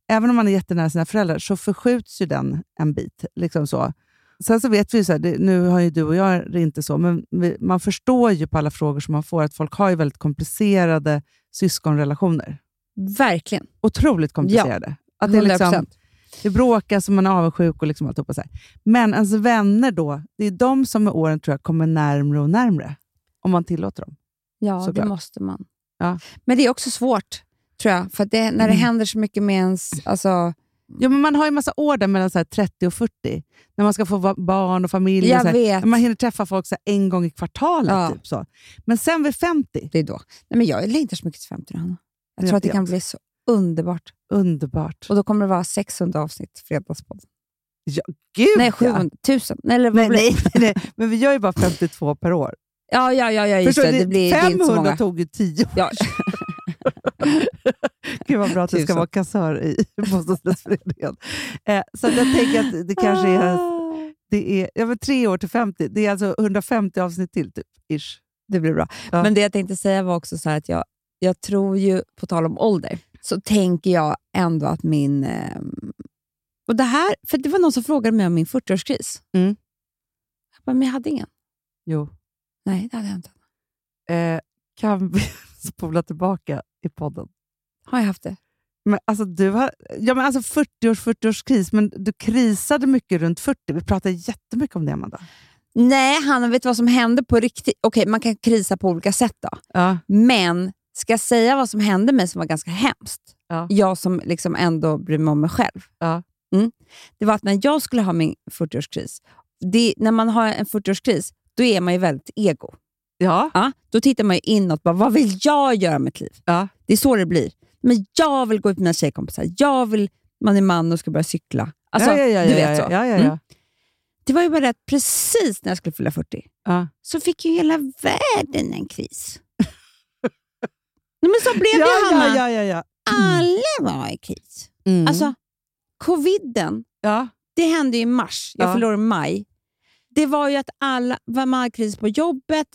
Speaker 7: även om man är jättenära sina föräldrar så förskjuts ju den en bit. Liksom så. Sen så vet vi ju, så här, det, nu har ju du och jag det inte så, men vi, man förstår ju på alla frågor som man får att folk har ju väldigt komplicerade syskonrelationer.
Speaker 6: Verkligen.
Speaker 7: Otroligt komplicerade. att det, är liksom,
Speaker 6: 100%.
Speaker 7: det bråkas och man är avundsjuk och liksom alltihopa. Så här. Men ens vänner då, det är de som med åren tror jag kommer närmre och närmre. Om man tillåter dem.
Speaker 6: Ja,
Speaker 7: Såklart.
Speaker 6: det måste man.
Speaker 7: Ja.
Speaker 6: Men det är också svårt, tror jag. För att det, när det
Speaker 7: Mm.
Speaker 6: händer så mycket med ens... Alltså,
Speaker 7: Ja, men man har ju massa år där mellan så här 30 och 40, när man ska få va- barn och familj.
Speaker 6: Jag
Speaker 7: och så här.
Speaker 6: vet.
Speaker 7: Man hinner träffa folk så här en gång i kvartalet.
Speaker 6: Ja.
Speaker 7: Typ så. Men sen vid 50,
Speaker 6: det är då. Nej, men jag längtar så mycket till 50 nu, Hanna. Jag
Speaker 7: Jag
Speaker 6: tror att det
Speaker 7: vet.
Speaker 6: kan bli så underbart.
Speaker 7: underbart.
Speaker 6: Och då kommer det vara 600 avsnitt Fredagspodden.
Speaker 7: Ja, gud
Speaker 6: Nej, 700 000. Eller vad
Speaker 7: nej,
Speaker 6: blir det?
Speaker 7: nej, nej, nej, men vi gör ju bara 52 per år.
Speaker 6: Ja, ja, ja, ja just det.
Speaker 7: Förstår du?
Speaker 6: Det, blir, det är inte så
Speaker 7: 500
Speaker 6: många.
Speaker 7: tog ju 10 år.
Speaker 6: Ja.
Speaker 7: Gud vad bra att du ska
Speaker 6: Tusen.
Speaker 7: vara kassör i bostadsrättsföreningen. Eh, så att jag tänker att det kanske
Speaker 6: Ah.
Speaker 7: är, det är ja, men tre år till 50. Det är alltså 150 avsnitt till, typ. Ish.
Speaker 6: Det blir bra.
Speaker 7: Ja.
Speaker 6: Men det jag tänkte säga var också så här att jag, jag tror ju, på tal om ålder, så tänker jag ändå att min... Eh, och det här, för det var någon som frågade mig om min 40-årskris.
Speaker 7: Mm.
Speaker 6: Jag bara, men jag hade ingen.
Speaker 7: Jo.
Speaker 6: Nej, det hade jag inte.
Speaker 7: Eh, kan vi spola tillbaka i podden?
Speaker 6: Har jag haft det?
Speaker 7: Men alltså, du har, ja, men alltså 40-års 40-årskris, men du krisade mycket runt 40. Vi pratade jättemycket om det, Amanda.
Speaker 6: Nej, Hanna, vet du vad som hände på riktigt? Okej, man kan krisa på olika sätt då.
Speaker 7: Ja.
Speaker 6: Men ska jag säga vad som hände mig som var ganska hemskt?
Speaker 7: Ja.
Speaker 6: Jag som liksom ändå bryr mig om mig själv.
Speaker 7: Ja.
Speaker 6: Mm. Det var att när jag skulle ha min 40-årskris, det, när man har en 40-årskris, då är man ju väldigt ego.
Speaker 7: Ja.
Speaker 6: Ja, då tittar man ju inåt. Bara, vad vill jag göra med mitt liv?
Speaker 7: Ja.
Speaker 6: Det är så det blir. Men jag vill gå ut med mina tjejkompisar. Jag vill, man är man och ska börja cykla. Alltså,
Speaker 7: ja, ja, ja,
Speaker 6: du
Speaker 7: ja,
Speaker 6: vet så.
Speaker 7: Ja, ja, ja.
Speaker 6: Mm. Det var ju bara det att precis när jag skulle fylla 40
Speaker 7: Ja.
Speaker 6: så fick ju hela världen en kris. Nej, men så blev
Speaker 7: Ja,
Speaker 6: det, Hanna.
Speaker 7: ja, ja, ja, ja.
Speaker 6: Alla var i kris.
Speaker 7: Mm.
Speaker 6: Alltså, coviden,
Speaker 7: ja.
Speaker 6: det hände ju i mars. Jag
Speaker 7: Ja.
Speaker 6: förlorade i maj. Det var ju att alla var man hade kris på jobbet,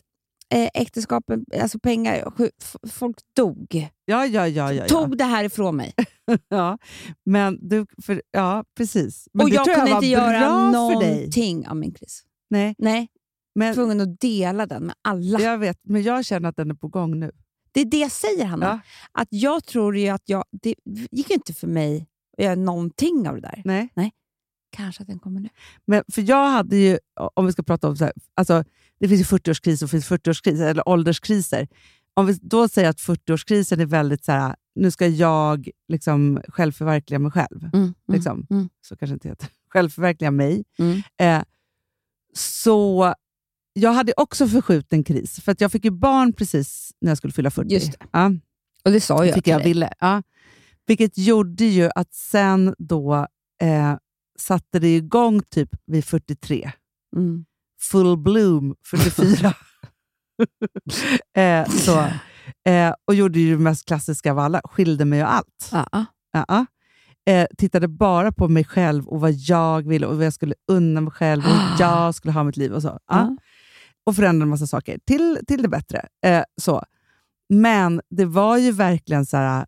Speaker 6: eh, äktenskapen, alltså pengar. sju- f- Folk dog.
Speaker 7: Ja, ja, ja, ja, ja.
Speaker 6: Tog det här ifrån mig.
Speaker 7: ja. Men du, för, ja, precis. Men
Speaker 6: och
Speaker 7: det
Speaker 6: jag
Speaker 7: tror
Speaker 6: kunde
Speaker 7: jag var
Speaker 6: inte göra
Speaker 7: bra för dig.
Speaker 6: någonting av min kris.
Speaker 7: Nej,
Speaker 6: Nej,
Speaker 7: men
Speaker 6: tvungen att dela den med alla.
Speaker 7: jag vet. Men jag känner att den är på gång nu.
Speaker 6: Det är det jag säger, Hanna.
Speaker 7: Ja.
Speaker 6: Att jag tror ju att jag... Det gick ju inte för mig att göra någonting av det där.
Speaker 7: Nej.
Speaker 6: Kanske att den kommer nu.
Speaker 7: Men, för jag hade ju, om vi ska prata om så här, alltså, det finns ju 40-årskriser och finns 40-årskriser, eller ålderskriser. Om vi då säger att 40-årskrisen är väldigt så här, nu ska jag liksom självförverkliga mig själv. liksom,
Speaker 6: mm.
Speaker 7: så kanske inte heter, självförverkliga mig.
Speaker 6: Mm.
Speaker 7: Eh, så jag hade också förskjuten kris, för att jag fick ju barn precis när jag skulle fylla 40.
Speaker 6: Just det.
Speaker 7: Ja,
Speaker 6: Och det sa jag
Speaker 7: fick
Speaker 6: till
Speaker 7: jag
Speaker 6: dig.
Speaker 7: ville. Ja. Vilket gjorde ju att sen då eh, satte det igång typ vid 43
Speaker 6: Mm.
Speaker 7: full bloom 44. eh, så. Eh, och gjorde ju det mest klassiska av alla, skilde mig och allt.
Speaker 6: Ja, ja.
Speaker 7: Ja, ja. Eh, tittade bara på mig själv och vad jag ville och vad jag skulle unna mig själv och hur jag skulle ha mitt liv och så. Ja.
Speaker 6: Ja.
Speaker 7: Och förändrade en massa saker till, till det bättre. Eh, så. Men det var ju verkligen så här,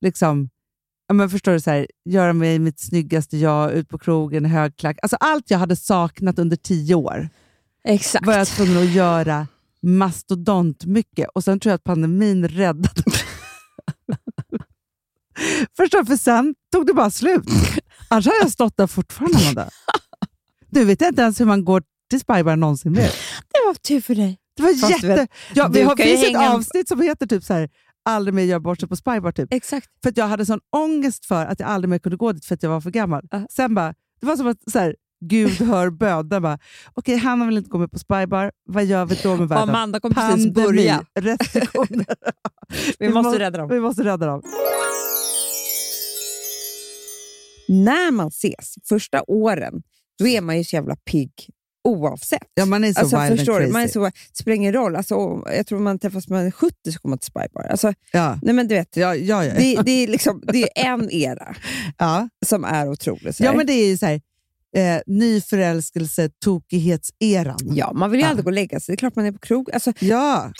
Speaker 7: liksom, ja, men förstår du, så här, göra mig mitt snyggaste jag, ut på krogen, högklack. Alltså allt jag hade saknat under tio år
Speaker 6: Exakt.
Speaker 7: var jag tvungen att göra mastodont mycket. Och sen tror jag att pandemin räddade mig. Förstår du? För sen tog det bara slut. Annars har jag stått där fortfarande, Amanda. Nu vet jag inte ens hur man går till Spybar någonsin mer.
Speaker 6: Det var tur för dig.
Speaker 7: Det var
Speaker 6: Fast du
Speaker 7: jätte...
Speaker 6: vet,
Speaker 7: Ja, vi
Speaker 6: du
Speaker 7: har,
Speaker 6: kan ju
Speaker 7: finns ett
Speaker 6: hänga-
Speaker 7: avsnitt som heter typ så här, aldrig mer gör bort sig på Spybar. Typ.
Speaker 6: Exakt.
Speaker 7: För att jag hade sån ångest för att jag aldrig mer kunde gå dit för att jag var för gammal. Sen bara, det var som att så här, Gud hör bön. Där bara, Okej, Hanna vill inte gå med på Spybar. Vad gör vi då med världen?
Speaker 6: Amanda kom precis börja.
Speaker 7: restriktioner.
Speaker 6: Vi måste rädda dem.
Speaker 7: Vi måste rädda dem.
Speaker 6: När man ses första åren, då är man ju så jävla pigg oavsett.
Speaker 7: Ja, man är så
Speaker 6: alltså,
Speaker 7: wild
Speaker 6: förstår
Speaker 7: and
Speaker 6: du? Man är
Speaker 7: crazy.
Speaker 6: så, det spelar ingen roll. Alltså, om- jag tror man träffas när man är 70 så kommer man till Spybar. Alltså,
Speaker 7: Ja,
Speaker 6: nej men du vet,
Speaker 7: ja, ja. Ja,
Speaker 6: det, det, är liksom, det är en era
Speaker 7: ja.
Speaker 6: som är otrolig. så
Speaker 7: ja
Speaker 6: här.
Speaker 7: men det är ju så här, eh, ny förälskelse, tokighetseran.
Speaker 6: ja, man vill ju
Speaker 7: Ja.
Speaker 6: aldrig gå och lägga sig. Det är klart man är på krog. Alltså,
Speaker 7: ja.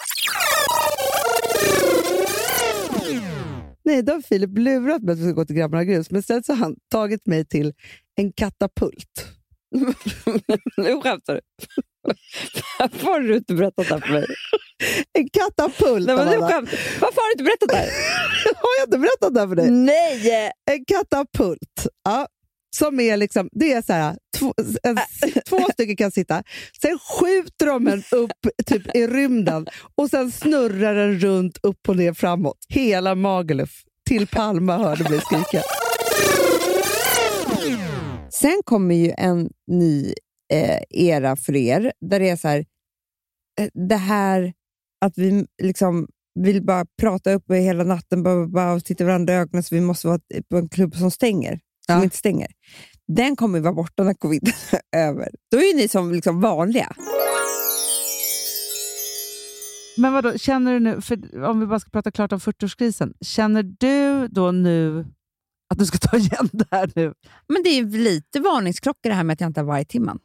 Speaker 7: Nej, då har Filip lurat mig att vi ska gå till Grabbarna Grus, men sen så har han tagit mig till en katapult.
Speaker 6: nu skämtar du. Varför har du inte berättat det här för mig?
Speaker 7: En katapult,
Speaker 6: Nej, men nu
Speaker 7: Amanda.
Speaker 6: skämtar Varför har du inte berättat det här?
Speaker 7: Har jag inte berättat det här för dig?
Speaker 6: Nej!
Speaker 7: En katapult. Ja. Som är liksom, det är så här, två, en, två stycken kan sitta, sen skjuter de en upp typ i rymden och sen snurrar den runt upp och ner framåt. Hela Magaluf till Palma hörde mig skrika.
Speaker 6: Sen kommer ju en ny eh, era för er, där det är så här, eh, det här att vi liksom vill bara prata upp hela natten bara, bara, och titta varandra i ögonen så vi måste vara på en klubb som stänger, som
Speaker 7: Ja.
Speaker 6: inte stänger. Den kommer vara borta när covid är över. Då är ju ni som liksom vanliga.
Speaker 7: Men vadå, känner du nu, för om vi bara ska prata klart om 40-årskrisen, känner du då nu att du ska ta igen det här nu?
Speaker 6: Men det är ju lite varningsklockor det här med att jag inte har varje timman.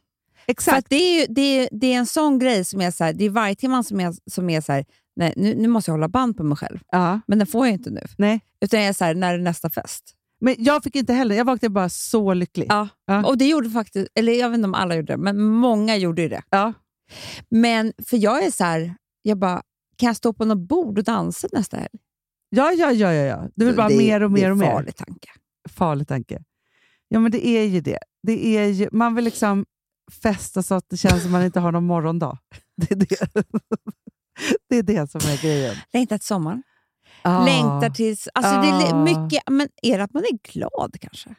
Speaker 6: Exakt. För att det, är ju, det, är, det är en sån grej som är så här, det är varje timman som är, som är så här, nej, nu, nu måste jag hålla band på mig själv. Men den får jag ju inte nu.
Speaker 7: Nej.
Speaker 6: Utan jag är så här, när är nästa fest?
Speaker 7: Men jag fick inte heller, jag vaknade bara så lycklig.
Speaker 6: Ja. Och det gjorde faktiskt, eller jag vet inte om alla gjorde det, men många gjorde ju det. Men för jag är så här, jag bara, kan jag stå på något bord och dansa nästa helg?
Speaker 7: Ja, ja, ja, ja, ja. Du vill
Speaker 6: Så
Speaker 7: bara
Speaker 6: det-
Speaker 7: mer och
Speaker 6: det är
Speaker 7: mer och mer.
Speaker 6: farlig tanke.
Speaker 7: Farlig tanke. Ja, men det är ju det. det är ju, man vill liksom festa så att det känns som man inte har någon morgondag. Det är det, det, är det som är grejen.
Speaker 6: Längtar till sommaren.
Speaker 7: Ah.
Speaker 6: Längtar tills... Alltså det är
Speaker 7: Ah.
Speaker 6: li- mycket, men är det att man är glad kanske?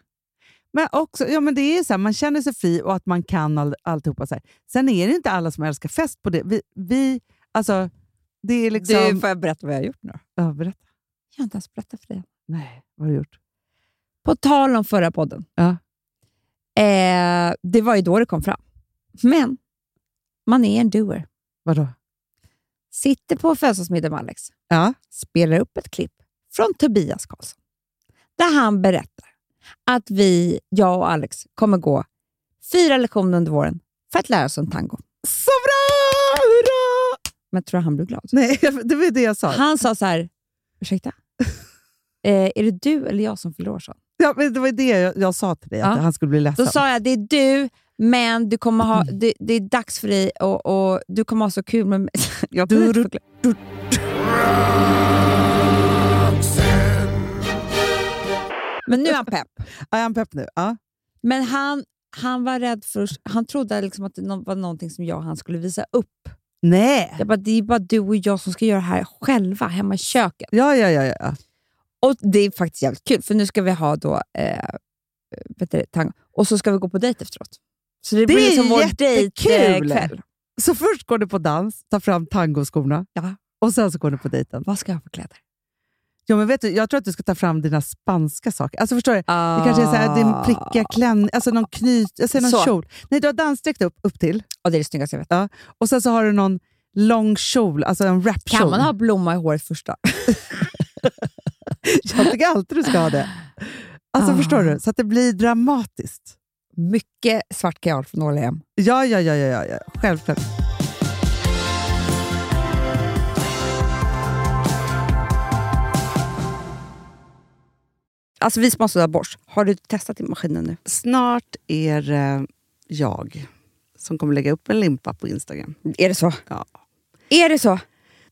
Speaker 7: Men också, ja, men det är ju så här, man känner sig fri och att man kan all, alltihopa. Så här. Sen är det inte alla som älskar fest på det. Vi, vi, alltså, det är liksom...
Speaker 6: Du, får jag berätta vad jag har gjort nu?
Speaker 7: Ja, berätta.
Speaker 6: Jag har inte ens berättat för dig.
Speaker 7: Nej, vad har du gjort?
Speaker 6: På tal om förra podden.
Speaker 7: Ja.
Speaker 6: Eh, det var ju då det kom fram. Men man är en doer.
Speaker 7: Vadå?
Speaker 6: Sitter på födelsedagsmiddag med Alex.
Speaker 7: Ja.
Speaker 6: Spelar upp ett klipp från Tobias Karlsson. Där han berättar att vi, jag och Alex, kommer gå fyra lektioner under våren för att lära oss om tango.
Speaker 7: Så bra! Hurra!
Speaker 6: Men tror du han blev glad?
Speaker 7: Nej, det var ju det jag sa.
Speaker 6: Han sa så här, ursäkta? Eh, är det du eller jag som fyller år? sa han.
Speaker 7: Ja, men det var ju det jag, jag sa till dig, att
Speaker 6: Ja.
Speaker 7: han skulle bli ledsen.
Speaker 6: Då sa jag, det är du, men du kommer ha,
Speaker 7: Mm.
Speaker 6: det, det är dags för dig och, och du kommer ha så kul med mig. Jag kan inte förklara. Men nu är han pepp.
Speaker 7: Ja, jag är pepp nu. Ja.
Speaker 6: Men han, han var rädd för, han trodde liksom att det nå- var någonting som jag och han skulle visa upp.
Speaker 7: Nej!
Speaker 6: Jag bara, det är bara du och jag som ska göra det här själva hemma i köket.
Speaker 7: Ja, ja, ja, ja.
Speaker 6: Och det är faktiskt jävligt kul, för nu ska vi ha då, eh, vet du, tango. Och så ska vi gå på dejt efteråt. Så det,
Speaker 7: Det
Speaker 6: blir
Speaker 7: är
Speaker 6: som vår
Speaker 7: jättekul!
Speaker 6: dejtkväll.
Speaker 7: Så först går du på dans, tar fram tangoskorna
Speaker 6: Ja.
Speaker 7: och sen så går du på dejten.
Speaker 6: Vad ska jag ha för kläder?
Speaker 7: Ja, men vet du, jag tror att du ska ta fram dina spanska saker. Alltså förstår du?
Speaker 6: Ah.
Speaker 7: Det kanske är så här, din prickiga klänning, alltså någon knyt, jag säger någon
Speaker 6: Så.
Speaker 7: kjol. Nej, du har dansdräkt upp, upp till
Speaker 6: Ja, det är det snyggaste jag vet.
Speaker 7: och sen så har du någon lång kjol, alltså en wrapkjol.
Speaker 6: Kan man ha blomma i håret första?
Speaker 7: Jag tycker alltid du ska ha det. Alltså
Speaker 6: Ah.
Speaker 7: förstår du? Så att det blir dramatiskt.
Speaker 6: Mycket svart kajal från Åhléns. hem.
Speaker 7: Ja, ja, ja, ja, ja, ja. självklart.
Speaker 6: Alltså vi som har sådär borst, har du testat i maskinen nu?
Speaker 7: Snart är eh, jag som kommer lägga upp en limpa på Instagram.
Speaker 6: Är det så?
Speaker 7: Ja.
Speaker 6: Är det så?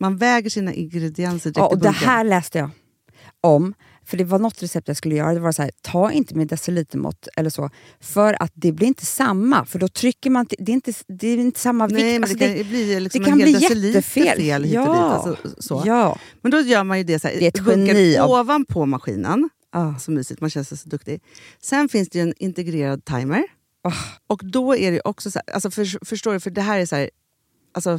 Speaker 7: man väger sina ingredienser direkt
Speaker 6: Ja,
Speaker 7: i
Speaker 6: och det
Speaker 7: bunken.
Speaker 6: här läste jag om. För det var något recept jag skulle göra. Det var så här, ta inte med decilitermått eller så. För att det blir inte samma. För då trycker man... till- Det är inte, det är inte samma vikt.
Speaker 7: Nej, men
Speaker 6: Alltså,
Speaker 7: det kan ju bli liksom
Speaker 6: det kan
Speaker 7: en hel
Speaker 6: bli
Speaker 7: deciliter
Speaker 6: jättefel.
Speaker 7: fel hit och dit.
Speaker 6: Ja.
Speaker 7: Alltså, så.
Speaker 6: Ja.
Speaker 7: Men då gör man ju det så här,
Speaker 6: Det är ett
Speaker 7: bunkar
Speaker 6: geni av-
Speaker 7: ovanpå maskinen.
Speaker 6: Ah.
Speaker 7: Så mysigt, man känns så duktig. Sen finns det ju en integrerad timer.
Speaker 6: Ah.
Speaker 7: Och då är det ju också så här, alltså för, förstår du, för det här är så här, alltså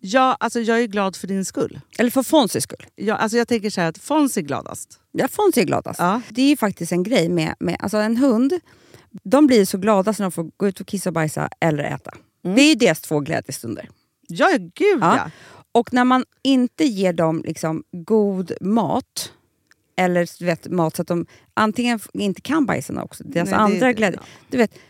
Speaker 7: Ja, alltså jag är glad för din skull.
Speaker 6: Eller för Fonzys skull.
Speaker 7: Ja, alltså jag tänker så här att Fons är gladast.
Speaker 6: Ja, Fonzie är gladast.
Speaker 7: Ja.
Speaker 6: Det är ju faktiskt en grej med, med alltså en hund. De blir så glada när de får gå ut och kissa och bajsa eller äta.
Speaker 7: Mm.
Speaker 6: Det är ju deras två glädjestunder.
Speaker 7: Ja, gud ja.
Speaker 6: Ja. Och när man inte ger dem liksom god mat, eller du vet, mat så att de antingen f- inte kan bajsa också, deras
Speaker 7: Nej, det-
Speaker 6: andra
Speaker 7: det-
Speaker 6: glädje,
Speaker 7: ja.
Speaker 6: du vet,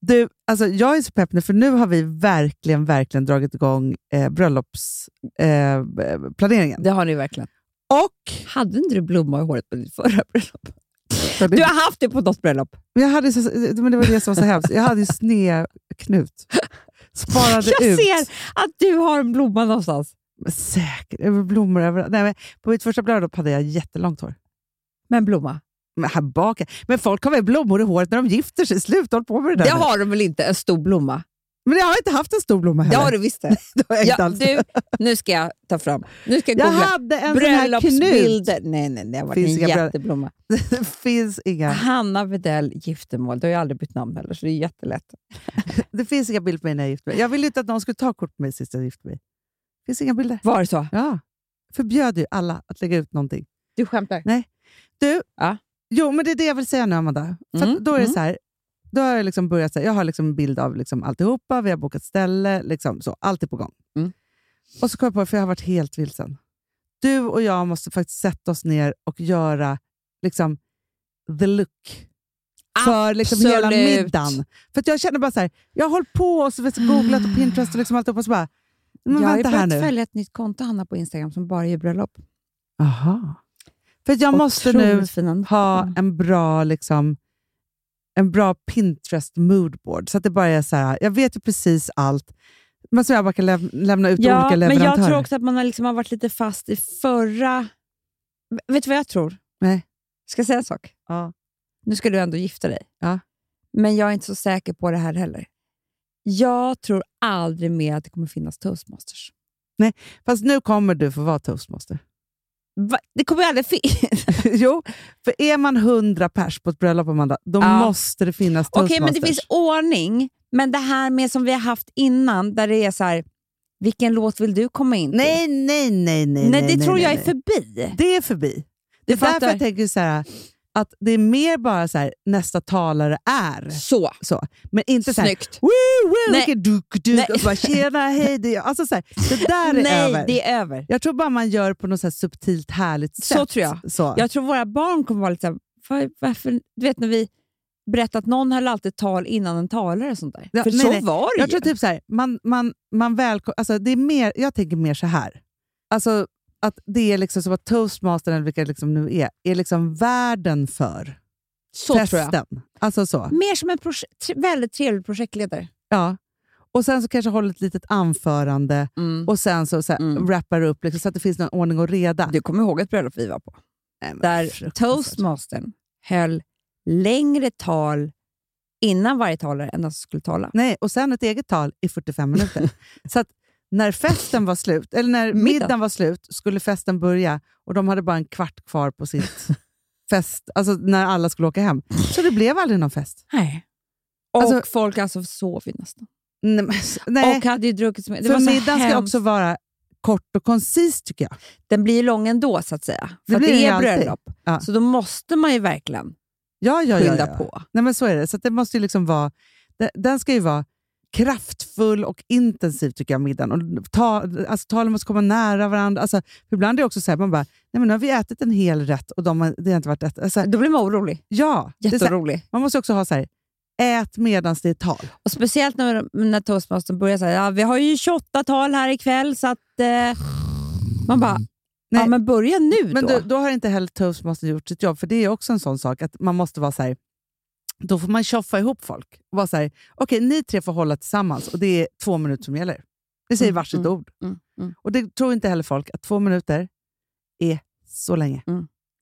Speaker 7: Du, alltså jag är så pepp nu, för nu har vi verkligen, verkligen dragit igång eh, bröllopsplaneringen. Eh, planeringen.
Speaker 10: Det har ni verkligen.
Speaker 7: och
Speaker 6: Hade inte du blomma i håret på ditt förra bröllop? Du har haft det på något bröllop.
Speaker 7: jag hade så, men det var det som var så hemskt. Jag hade ju snedknut. Sparade
Speaker 6: Jag
Speaker 7: ut.
Speaker 6: ser att du har en blomma någonstans.
Speaker 7: Men Säkert. Det var Blommor överallt. Nej, men på mitt första bröllop hade jag jättelångt hår.
Speaker 6: Men blomma?
Speaker 7: Men här bak. Men folk har väl blommor i håret när de gifter sig? Sluta håll på med det där.
Speaker 10: Det
Speaker 7: nu.
Speaker 10: har de väl inte, en stor blomma?
Speaker 7: Men jag har inte haft en stor blomma
Speaker 6: Det
Speaker 7: heller.
Speaker 6: har du visst det.
Speaker 7: Det har jag inte
Speaker 6: Ja,
Speaker 7: alls.
Speaker 6: du, nu ska jag ta fram. Nu ska jag
Speaker 7: jag
Speaker 6: googla.
Speaker 7: hade en sån här knut.
Speaker 10: Bröllopsbilder. Nej, nej, det var
Speaker 7: Finns
Speaker 10: en
Speaker 7: inga bröll-
Speaker 10: jätteblomma.
Speaker 7: Det finns, inga,
Speaker 10: Hanna Widell, giftermål. Du har ju aldrig bytt namn heller, så det är jättelätt.
Speaker 7: det finns inga bilder på mig när jag gifte mig. Jag ville inte att någon skulle ta kort på mig sist jag gifte mig. Det finns inga bilder.
Speaker 10: Var det så?
Speaker 7: Ja. Förbjöd ju alla att lägga ut någonting.
Speaker 10: Du skämtar?
Speaker 7: Du,
Speaker 10: Ja.
Speaker 7: jo, men det är det jag vill säga nu Amanda. För
Speaker 10: Mm,
Speaker 7: att då är det
Speaker 10: mm.
Speaker 7: så här, då har jag liksom börjat så här, jag har liksom en bild av liksom alltihopa, vi har bokat ställe, liksom så, allt är på gång.
Speaker 10: Mm.
Speaker 7: Och så kom jag på, för jag har varit helt vilsen. Du och jag måste faktiskt sätta oss ner och göra liksom the look. För liksom hela
Speaker 10: Absolut.
Speaker 7: middagen. För att jag känner bara så här, jag har hållit på och så vet jag, googlat och Pinterest och liksom alltihopa och så bara, Men
Speaker 6: jag har ju
Speaker 7: vänta här
Speaker 6: börjat
Speaker 7: nu.
Speaker 6: följa ett nytt konto, Hanna, på Instagram som bara gör bröllop.
Speaker 7: Aha. För att jag måste nu
Speaker 6: Otroligt fina. Mm.
Speaker 7: ha en bra liksom, en bra Pinterest moodboard. Så att det bara är så här, jag vet ju precis allt, men så jag bara kan läm- lämna ut olika
Speaker 6: men
Speaker 7: leverantörer.
Speaker 6: jag tror också att man har liksom har varit lite fast i förra... Vet du vad jag tror?
Speaker 7: Nej.
Speaker 6: Ska jag säga en sak?
Speaker 7: Ja.
Speaker 6: Nu ska du ändå gifta dig.
Speaker 7: Ja.
Speaker 6: Men jag är inte så säker på det här heller. Jag tror aldrig mer att det kommer finnas toastmasters.
Speaker 7: Fast nu kommer du få vara toastmaster.
Speaker 6: Va? Det kommer ju aldrig finnas.
Speaker 7: jo, för är man 100 pers på ett bröllop, Amanda, då
Speaker 6: Ja.
Speaker 7: måste det finnas
Speaker 6: Okej,
Speaker 7: toastmasters.
Speaker 6: men det finns ordning. Men det här med som vi har haft innan, där det är så här, vilken låt vill du komma in till?
Speaker 7: Nej, nej, nej. nej,
Speaker 6: nej,
Speaker 7: nej
Speaker 6: det
Speaker 7: nej,
Speaker 6: tror jag
Speaker 7: nej,
Speaker 6: är
Speaker 7: nej.
Speaker 6: förbi.
Speaker 7: Det är förbi. Det är
Speaker 6: fattar.
Speaker 7: därför jag tänker så här, att det är mer bara så här, nästa talare är.
Speaker 6: Så,
Speaker 7: Så. Men inte så här,
Speaker 6: snyggt.
Speaker 7: woo, woo,
Speaker 6: Nej.
Speaker 7: vilken duk, duk,
Speaker 6: Nej.
Speaker 7: och bara tjena, hej, det är jag." alltså, så här, Det där är
Speaker 6: nej,
Speaker 7: över.
Speaker 6: det är över.
Speaker 7: Jag tror bara man gör på något så här subtilt härligt
Speaker 6: Så
Speaker 7: sätt.
Speaker 6: tror jag.
Speaker 7: Så.
Speaker 6: Jag tror våra barn kommer vara lite så här, "Var- varför? Du vet när vi berättar att någon höll alltid tal innan en talare och sånt där.
Speaker 7: Ja,
Speaker 6: För
Speaker 7: nej,
Speaker 6: så
Speaker 7: nej.
Speaker 6: var det
Speaker 7: Jag
Speaker 6: ju.
Speaker 7: tror typ så här, man, man, man välkom- alltså det är mer, jag tänker mer så här. Alltså, att det är liksom som att toastmastern, eller vilka det liksom nu är, är liksom värden för
Speaker 6: så tror jag. Mm.
Speaker 7: festen. Alltså så.
Speaker 6: Mer som en proje- tre- väldigt trevlig projektledare.
Speaker 7: Ja. Och sen så kanske håller ett litet anförande och sen så, så här,
Speaker 6: Mm.
Speaker 7: wrappar upp liksom, så att det finns någon ordning och reda.
Speaker 6: Du kommer ihåg ett bröllop vi var på?
Speaker 7: Nej, men
Speaker 6: Där
Speaker 7: fruktansvärt.
Speaker 6: toastmastern höll längre tal innan varje talare än den som skulle tala.
Speaker 7: Nej, och sen ett eget tal i 45 minuter. så att när festen var slut, eller när
Speaker 6: Middag.
Speaker 7: middagen var slut, skulle festen börja och de hade bara en kvart kvar på sitt fest, alltså när alla skulle åka hem. Så det blev aldrig någon fest.
Speaker 6: Nej. Och
Speaker 7: Alltså-
Speaker 6: folk alltså sov ju nästan.
Speaker 7: Nej, men- nej.
Speaker 6: Och hade ju druckit så mycket. Det
Speaker 7: för
Speaker 6: var så
Speaker 7: middagen ska
Speaker 6: hemskt.
Speaker 7: också vara kort och koncis tycker jag.
Speaker 6: Den blir ju lång ändå så att säga.
Speaker 7: Det
Speaker 6: För
Speaker 7: blir
Speaker 6: att
Speaker 7: den
Speaker 6: det
Speaker 7: ju
Speaker 6: är
Speaker 7: alltid.
Speaker 6: bröllop.
Speaker 7: Ja.
Speaker 6: Så då måste man ju verkligen
Speaker 7: Ja, ja, ja,
Speaker 6: skynda
Speaker 7: ja.
Speaker 6: på.
Speaker 7: Nej, men så är det. Så att det måste ju liksom vara, de- den ska ju vara kraftfull och intensiv tycker jag, middagen. Och ta, alltså, talen måste komma nära varandra. Alltså, för ibland är det också så här, man bara, nej men nu har vi ätit en hel rätt och de har, det har inte varit ett. Alltså,
Speaker 6: Då blir man orolig.
Speaker 7: ja, det är så här,
Speaker 6: Jätteorolig.
Speaker 7: man måste också ha så här, ät medans det är tal.
Speaker 6: Och speciellt när, när toastmastern börjar säga ja, vi har ju 28 tal här ikväll så att eh, man bara, ja
Speaker 7: Nej.
Speaker 6: men börja nu
Speaker 7: Men
Speaker 6: Typ då.
Speaker 7: då, då har inte heller toastmaster gjort sitt jobb, för det är också en sån sak att man måste vara så här, då får man tjoffa ihop folk. Och vara så här, okej ni tre får hålla tillsammans och det är två minuter som gäller. Ni säger
Speaker 6: Mm,
Speaker 7: varsitt
Speaker 6: mm,
Speaker 7: ord.
Speaker 6: mm, mm.
Speaker 7: Och det tror inte heller folk, att två minuter är så länge.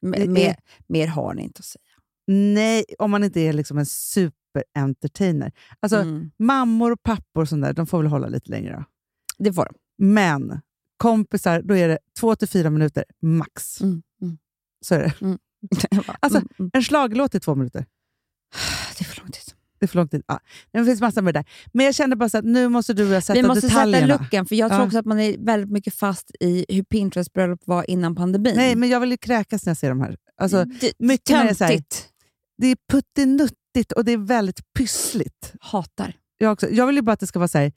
Speaker 7: det
Speaker 6: mer,
Speaker 7: är-
Speaker 6: mer, mer har ni inte att säga.
Speaker 7: Nej, om man inte är liksom en superentertainer. Alltså,
Speaker 6: Mm.
Speaker 7: Mammor och pappor och sånt där, de får väl hålla lite längre. Då.
Speaker 6: Det får de.
Speaker 7: Men kompisar, då är det två till fyra minuter max.
Speaker 6: Mm, mm.
Speaker 7: Så är det. Alltså,
Speaker 6: Mm, mm.
Speaker 7: En slaglåt är två minuter.
Speaker 6: det är för lång tid.
Speaker 7: Det är för lång tid. Ja. Det finns massor med det där. Men jag kände bara så att nu måste du och jag sätta
Speaker 6: Vi måste sätta
Speaker 7: detaljerna.
Speaker 6: luckan, för jag tror
Speaker 7: Ja.
Speaker 6: också att man är väldigt mycket fast i hur Pinterest bröllop var innan pandemin. Mm.
Speaker 7: Nej, men jag vill ju kräkas när jag ser de här. Alltså,
Speaker 6: det,
Speaker 7: mycket när det är så här-
Speaker 6: töntigt.
Speaker 7: det är puttinuttigt och det är väldigt pyssligt.
Speaker 6: Hatar.
Speaker 7: Jag, också, jag vill ju bara att det ska vara så här,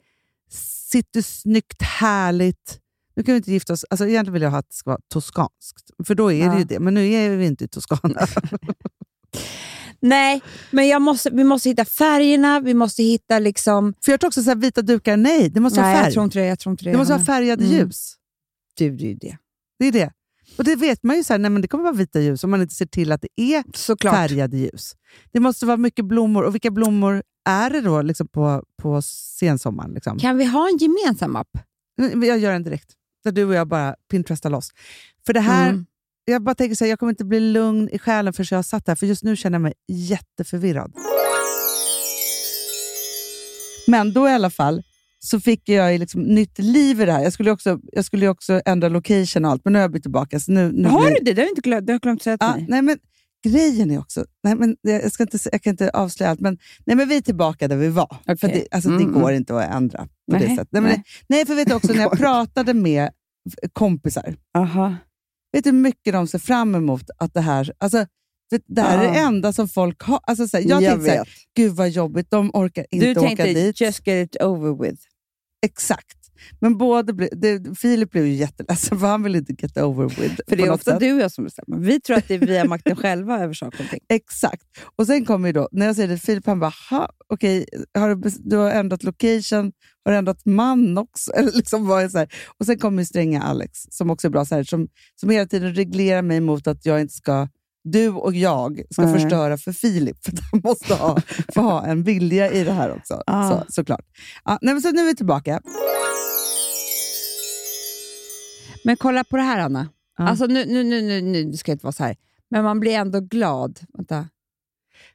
Speaker 7: sitter snyggt, härligt. Nu kan vi inte gifta oss. Alltså, egentligen vill jag ha att det ska vara toskanskt, för då är det
Speaker 6: Ja.
Speaker 7: ju det. Men nu är vi inte i Toscana.
Speaker 6: Nej, men jag måste, vi måste hitta färgerna, vi måste hitta liksom...
Speaker 7: för jag tror också så här, vita dukar, nej, det måste
Speaker 6: nej,
Speaker 7: vara
Speaker 6: jag
Speaker 7: färg.
Speaker 6: tror inte det. Jag tror inte det,
Speaker 7: det måste vara
Speaker 6: Hanna.
Speaker 7: färgade
Speaker 6: Mm.
Speaker 7: ljus.
Speaker 6: Du, det är ju det.
Speaker 7: Det är det. Och det vet man ju, så här, nej, men det kommer vara vita ljus om man inte ser till att det är
Speaker 6: Såklart.
Speaker 7: färgade ljus. Det måste vara mycket blommor. Och vilka blommor är det då liksom på, på sensommaren? Liksom?
Speaker 6: Kan vi ha en gemensam app?
Speaker 7: Men Jag gör en direkt, där du och jag bara pinterestar loss. För det här,
Speaker 6: Mm.
Speaker 7: jag bara tänker så här, jag kommer inte bli lugn i själen förrän jag har satt det här, för just nu känner jag mig jätteförvirrad. Men då i alla fall så fick jag ju liksom nytt liv i det här. Jag skulle ju också, jag skulle ju också ändra location och allt, men nu har jag bytt tillbaka. Så nu, nu
Speaker 6: Har
Speaker 7: blir-
Speaker 6: du det? Det har jag inte glömt, det har jag glömt säga till
Speaker 7: Ja,
Speaker 6: dig.
Speaker 7: Ah, nej, men grejen är också... Nej, men jag, jag ska inte, se- jag kan inte avslöja allt, men, nej, men vi är tillbaka där vi var. För
Speaker 6: Okej.
Speaker 7: det, alltså,
Speaker 6: Mm,
Speaker 7: det går
Speaker 6: mm.
Speaker 7: inte att ändra på det
Speaker 6: Nej,
Speaker 7: sättet. Nej, men,
Speaker 6: nej.
Speaker 7: nej. för vet du också, när jag pratade med f- kompisar,
Speaker 6: Aha.
Speaker 7: vet du hur mycket de ser fram emot att det här... Alltså, för det här är det
Speaker 6: Ja.
Speaker 7: enda som folk har. Alltså, så här, jag,
Speaker 6: Jag
Speaker 7: tänkte så här, gud vad jobbigt, de orkar inte
Speaker 6: Du
Speaker 7: åka
Speaker 6: tänkte
Speaker 7: dit.
Speaker 6: just get it over with.
Speaker 7: Exakt. Men både ble, det, Filip blev ju jätteledsen, för han vill inte get over with.
Speaker 6: För det
Speaker 7: på
Speaker 6: är
Speaker 7: något
Speaker 6: ofta
Speaker 7: sätt.
Speaker 6: du och jag som bestämmer. Vi tror att det är via makten själva över saker och ting.
Speaker 7: Exakt. Och sen kommer ju då, när jag säger det till Filip, han bara, "Ha, okej, har du, bes- du har ändrat location, har du ändrat man också? Eller liksom vad är så här. Och sen kommer ju stränga Alex, som också är bra, så här, som, som hela tiden reglerar mig mot att jag inte ska, du och jag ska
Speaker 6: Nej.
Speaker 7: förstöra för Filip, för att han måste ha, få ha en vilja i det här också.
Speaker 6: Ah.
Speaker 7: Så, såklart. Ja, nej, men så nu är vi tillbaka.
Speaker 6: Men kolla på det här, Anna. Alltså, nu, nu, nu, nu, nu det ska jag inte vara så här, men man blir ändå glad. Vänta.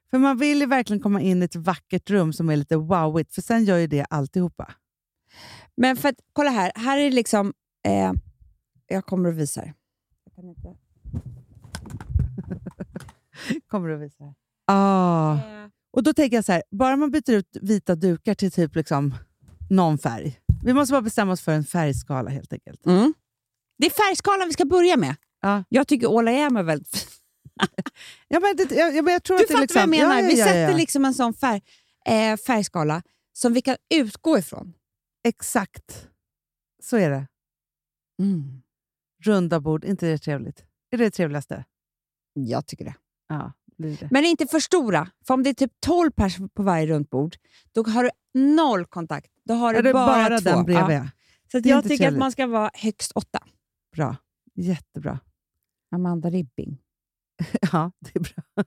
Speaker 7: För man vill ju verkligen komma in i ett vackert rum som är lite wowigt, för sen gör ju det alltihopa.
Speaker 6: Men för att, kolla här. Här är liksom... Eh, jag kommer att visa det. Jag kan inte-
Speaker 7: Kommer du att visa? Ja. Ah. Och då tänker jag så här, bara man byter ut vita dukar till typ liksom någon färg. Vi måste bara bestämma oss för en färgskala helt enkelt.
Speaker 6: Mm. Det är färgskalan vi ska börja med.
Speaker 7: Ja.
Speaker 6: Jag tycker All I am är väldigt fin.
Speaker 7: Ja, men det, jag, jag, men jag tror
Speaker 6: Du
Speaker 7: att det
Speaker 6: fattar
Speaker 7: liksom,
Speaker 6: vad jag menar.
Speaker 7: Ja, ja,
Speaker 6: vi
Speaker 7: ja,
Speaker 6: sätter
Speaker 7: ja.
Speaker 6: liksom en sån färg, eh, färgskala som vi kan utgå ifrån.
Speaker 7: Exakt. Så är det.
Speaker 6: Mm.
Speaker 7: Runda bord, inte det trevligt? Är det det trevligaste?
Speaker 6: Jag tycker det.
Speaker 7: Ja, det är det.
Speaker 6: Men inte för stora. För om det är typ 12 pers på varje runt bord, då har du noll kontakt. Då har
Speaker 7: är
Speaker 6: du
Speaker 7: det
Speaker 6: bara,
Speaker 7: bara,
Speaker 6: två.
Speaker 7: den bredvid?
Speaker 6: Ja. Så att
Speaker 7: Det är
Speaker 6: jag
Speaker 7: inte
Speaker 6: tycker att
Speaker 7: trevligt.
Speaker 6: man ska vara högst åtta.
Speaker 7: Bra. Jättebra.
Speaker 6: Amanda Ribbing.
Speaker 7: Ja, det är bra.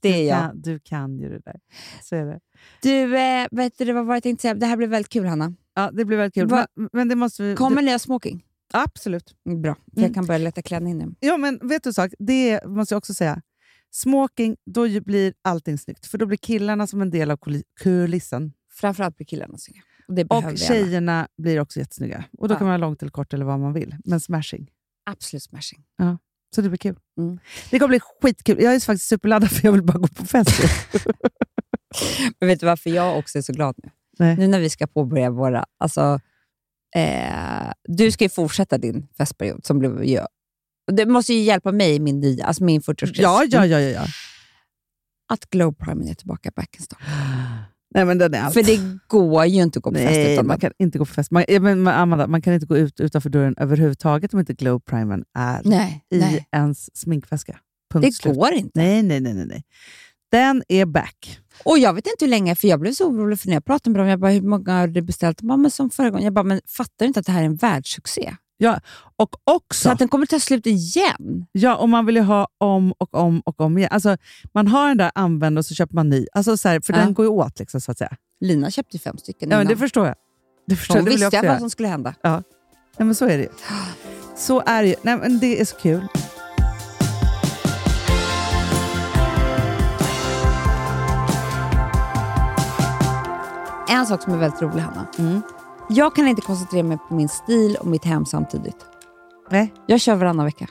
Speaker 6: Det är
Speaker 7: Du
Speaker 6: jag.
Speaker 7: kan, du kan ju det där. Så är det.
Speaker 6: Du, eh, vet du vad var det jag tänkte säga? Det här blir väldigt kul, Hanna.
Speaker 7: Ja, det blir väldigt kul.
Speaker 6: Va-
Speaker 7: Men, men det måste vi...
Speaker 6: Kommer ni ha smoking?
Speaker 7: Absolut.
Speaker 6: Bra, för jag
Speaker 7: Mm.
Speaker 6: kan börja leta klänning nu.
Speaker 7: Ja, men vet du en sak? Det måste jag också säga. Smoking, då ju blir allting snyggt. För då blir killarna som en del av kuli- kulissen.
Speaker 6: Framförallt på killarna. tycker jag. Och det behöver
Speaker 7: Och
Speaker 6: vi alla.
Speaker 7: tjejerna blir också jättesnygga. Och då
Speaker 6: Ja.
Speaker 7: kan man ha långt eller kort eller vad man vill. Men smashing.
Speaker 6: Absolut smashing.
Speaker 7: Så det blir kul.
Speaker 6: Mm.
Speaker 7: Det kommer bli skitkul. Jag är faktiskt superladdad för jag vill bara gå på fest.
Speaker 6: Men vet du varför jag också är så glad nu?
Speaker 7: Nej.
Speaker 6: Nu när vi ska påbörja våra... Alltså, eh, du ska ju fortsätta din festperiod. Som blev, ju- det måste ju hjälpa mig i min nya, alltså min 40-årskris.
Speaker 7: ja, ja, ja, ja, ja.
Speaker 6: Att Glow Prime är tillbaka back in stock.
Speaker 7: Nej, men den är allt.
Speaker 6: För det går ju inte att gå på fest
Speaker 7: Nej,
Speaker 6: utan
Speaker 7: man
Speaker 6: den.
Speaker 7: kan inte gå på fest. Man, ja, men Amanda, man kan inte gå ut utanför dörren överhuvudtaget om inte glow primern är
Speaker 6: Nej,
Speaker 7: Typ. i
Speaker 6: nej.
Speaker 7: ens sminkväska. Punkt
Speaker 6: Det
Speaker 7: slut.
Speaker 6: går inte.
Speaker 7: Nej, nej, nej, nej, nej. Den är back.
Speaker 6: Och jag vet inte hur länge, för jag blev så orolig för när jag pratade med dem. Jag bara, hur många har du beställt? De bara, men som förra gången. Jag bara, men fattar du inte att det här är en världssuccé?
Speaker 7: Ja, och
Speaker 6: Så
Speaker 7: också,
Speaker 6: att den kommer ta slut igen.
Speaker 7: ja, om man vill ju ha om och om och om igen. Alltså, man har den där använd och så köper man ny. Alltså, så här, för
Speaker 6: Ja.
Speaker 7: den går ju åt, liksom, så att säga.
Speaker 6: Lina köpte ju fem stycken
Speaker 7: Ja, men det
Speaker 6: innan.
Speaker 7: förstår jag. Det förstår,
Speaker 6: Hon
Speaker 7: jag. det vill
Speaker 6: visste
Speaker 7: jag
Speaker 6: jag
Speaker 7: också
Speaker 6: vad
Speaker 7: göra.
Speaker 6: som skulle hända.
Speaker 7: Nej, men så är det ju. Så är det ju. Nej, men det är så kul.
Speaker 6: En sak som är väldigt rolig, Hanna.
Speaker 7: Mm.
Speaker 6: Jag kan inte koncentrera mig på min stil och mitt hem samtidigt.
Speaker 7: Nej.
Speaker 6: Jag kör varannan vecka.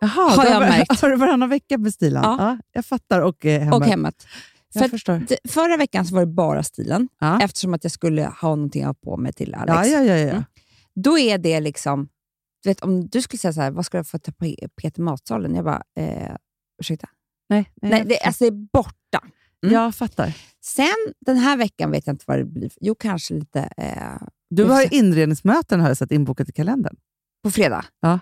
Speaker 7: Jaha,
Speaker 6: Har
Speaker 7: då
Speaker 6: jag
Speaker 7: var-
Speaker 6: märkt.
Speaker 7: Har du varannan vecka med stilen?
Speaker 6: Ja.
Speaker 7: jag fattar. Och eh, hemma.
Speaker 6: Och hemmet.
Speaker 7: Jag
Speaker 6: För att
Speaker 7: förstår.
Speaker 6: d- förra veckan så var det bara stilen,
Speaker 7: Ja.
Speaker 6: eftersom att jag skulle ha någonting att ha på mig till Alex.
Speaker 7: Ja, ja, ja, ja.
Speaker 6: Mm. Då är det liksom... Du vet, om du skulle säga så här, vad ska jag få tapet i matsalen? Jag bara, eh, ursäkta?
Speaker 7: Nej, nej,
Speaker 6: Nej,
Speaker 7: jag,
Speaker 6: det, alltså det är borta. Mm.
Speaker 7: jag fattar.
Speaker 6: Sen den här veckan vet jag inte vad det blir. Jo, kanske lite eh,
Speaker 7: Du
Speaker 6: Vi
Speaker 7: har ju
Speaker 6: får
Speaker 7: inredningsmöten har jag sett inbokat i kalendern.
Speaker 6: på fredag.
Speaker 7: Ja.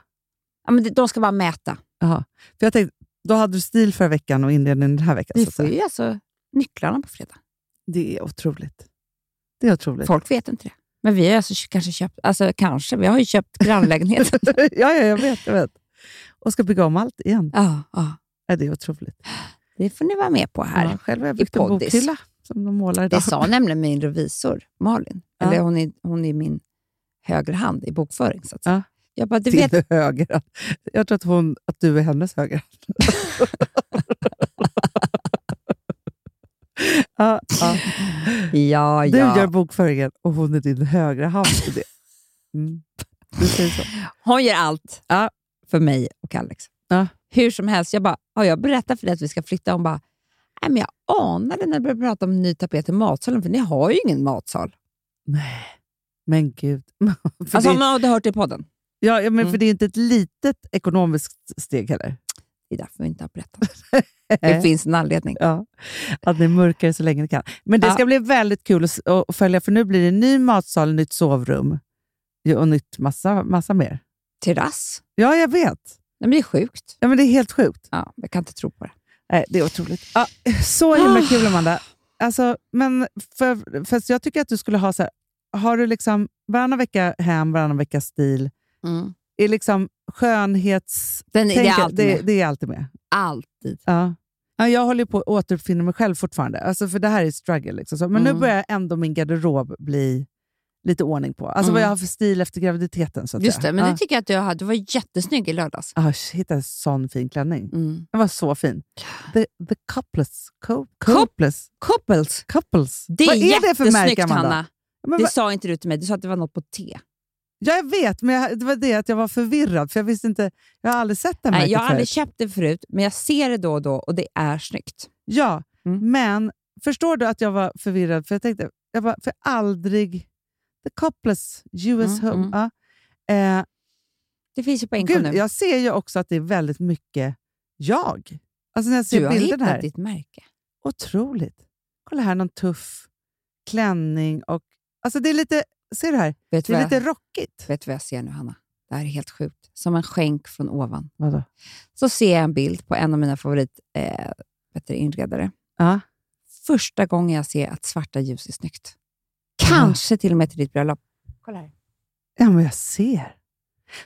Speaker 6: ja men det- de ska bara mäta.
Speaker 7: Jaha. För jag tänkte, då hade du stil förra veckan och inredningen den här veckan.
Speaker 6: Vi
Speaker 7: så att
Speaker 6: får
Speaker 7: säga.
Speaker 6: ju alltså nycklarna på fredag.
Speaker 7: Det är otroligt. Det är otroligt.
Speaker 6: Folk vet inte det. Men vi har ju alltså kanske köpt, alltså kanske, vi har ju köpt grannlägenheten.
Speaker 7: ja, ja, jag vet, jag vet. Och ska bygga om allt igen.
Speaker 6: ja, ja,
Speaker 7: Ja, det är otroligt.
Speaker 6: det får ni vara med på här.
Speaker 7: Ja, själv har jag byggt en
Speaker 6: poddis.
Speaker 7: bokhylla som de målar idag.
Speaker 6: Det sa nämligen min revisor, Malin.
Speaker 7: Ja.
Speaker 6: Eller hon är, hon är min högra hand i bokföring. Så att säga.
Speaker 7: Ja.
Speaker 6: Jag bara, du
Speaker 7: Din
Speaker 6: vet,
Speaker 7: högra. Jag tror att, hon, att du är hennes högra. ja, ja.
Speaker 6: ja,
Speaker 7: Du gör
Speaker 6: ja.
Speaker 7: bokföringen och hon är din högra hand i det. Mm. Du säger så.
Speaker 6: Hon gör allt för mig och Alex.
Speaker 7: Ja.
Speaker 6: Hur som helst, jag bara, har jag berättat för dig att vi ska flytta? Hon bara, nej men jag anade när du började prata om ny tapet i matsalen, för ni har ju ingen matsal.
Speaker 7: Nej, men gud. För
Speaker 6: Alltså
Speaker 7: det,
Speaker 6: om man hade hört det i podden.
Speaker 7: ja, ja, men
Speaker 6: Mm.
Speaker 7: för det är ju inte ett litet ekonomiskt steg heller.
Speaker 6: Det är därför vi inte har berättat. Det finns en anledning.
Speaker 7: Ja, att ni mörkar det så länge ni kan. Men det
Speaker 6: Ja.
Speaker 7: ska bli väldigt kul att, s- att följa, för nu blir det ny matsal, nytt sovrum. ju hunnit massa, massa mer.
Speaker 6: Terrass?
Speaker 7: Ja, jag vet.
Speaker 6: Nej, men det är sjukt.
Speaker 7: Ja, men det är helt sjukt.
Speaker 6: Ja, jag kan inte tro på det.
Speaker 7: Nej, det är otroligt. Ja, så himla kul, Amanda. Alltså, men för, för jag tycker att du skulle ha så här, har du liksom varannan vecka hem, varannan vecka stil.
Speaker 6: Mm.
Speaker 7: Är liksom skönhets...
Speaker 6: Den är- det är
Speaker 7: tänket-
Speaker 6: alltid
Speaker 7: det,
Speaker 6: med.
Speaker 7: det är alltid med.
Speaker 6: Alltid.
Speaker 7: Ja. Ja, jag håller ju på att återuppfinna mig själv fortfarande, alltså, för det här är struggle. Liksom. Så, men
Speaker 6: Mm.
Speaker 7: nu börjar ändå min garderob bli lite ordning på. Alltså vad
Speaker 6: Mm.
Speaker 7: jag har för stil efter graviditeten. Så att
Speaker 6: Just
Speaker 7: säga.
Speaker 6: det, men
Speaker 7: ja.
Speaker 6: det tycker jag att du har. Du var jättesnygg i lördags.
Speaker 7: Ah, shit, hittade en sån fin klänning.
Speaker 6: Mm.
Speaker 7: Den var så fin. The, the couples. Co- couples.
Speaker 6: Couples.
Speaker 7: couples.
Speaker 6: Det är,
Speaker 7: Vad är det för märke,
Speaker 6: jättesnyggt,
Speaker 7: Amanda?
Speaker 6: Hanna.
Speaker 7: Men
Speaker 6: det
Speaker 7: vad-
Speaker 6: sa inte du till mig. Du sa att det var något på T.
Speaker 7: Ja, jag vet, men jag, det var det att jag var förvirrad. För Jag visste inte, jag har aldrig sett det här
Speaker 6: Nej,
Speaker 7: märket
Speaker 6: jag har aldrig
Speaker 7: förut.
Speaker 6: köpt det förut, men jag ser det då och då och det är snyggt.
Speaker 7: Ja,
Speaker 6: Mm.
Speaker 7: men förstår du att jag var förvirrad? För jag tänkte, jag var för aldrig... The couples, US
Speaker 6: Mm,
Speaker 7: home.
Speaker 6: mm.
Speaker 7: Ja. Eh,
Speaker 6: Det finns ju på NK nu.
Speaker 7: gud, jag ser ju också att det är väldigt mycket jag. Alltså när jag ser
Speaker 6: du har hittat
Speaker 7: bilden här.
Speaker 6: ditt märke.
Speaker 7: Otroligt. Kolla här, någon tuff klänning och... Alltså det är lite... Ser du här?
Speaker 6: Vet du
Speaker 7: Det
Speaker 6: vad
Speaker 7: är
Speaker 6: jag-
Speaker 7: lite rockigt.
Speaker 6: Vet du vad jag ser nu, Hanna? Det här är helt sjukt. Som en skänk från ovan.
Speaker 7: Vadå?
Speaker 6: Så ser jag en bild på en av mina favorit eh, bättre inredare.
Speaker 7: Ja.
Speaker 6: Första gången jag ser att svarta ljus är snyggt. Kanske till och med till ditt bröllop. Kolla här.
Speaker 7: Ja, men jag ser.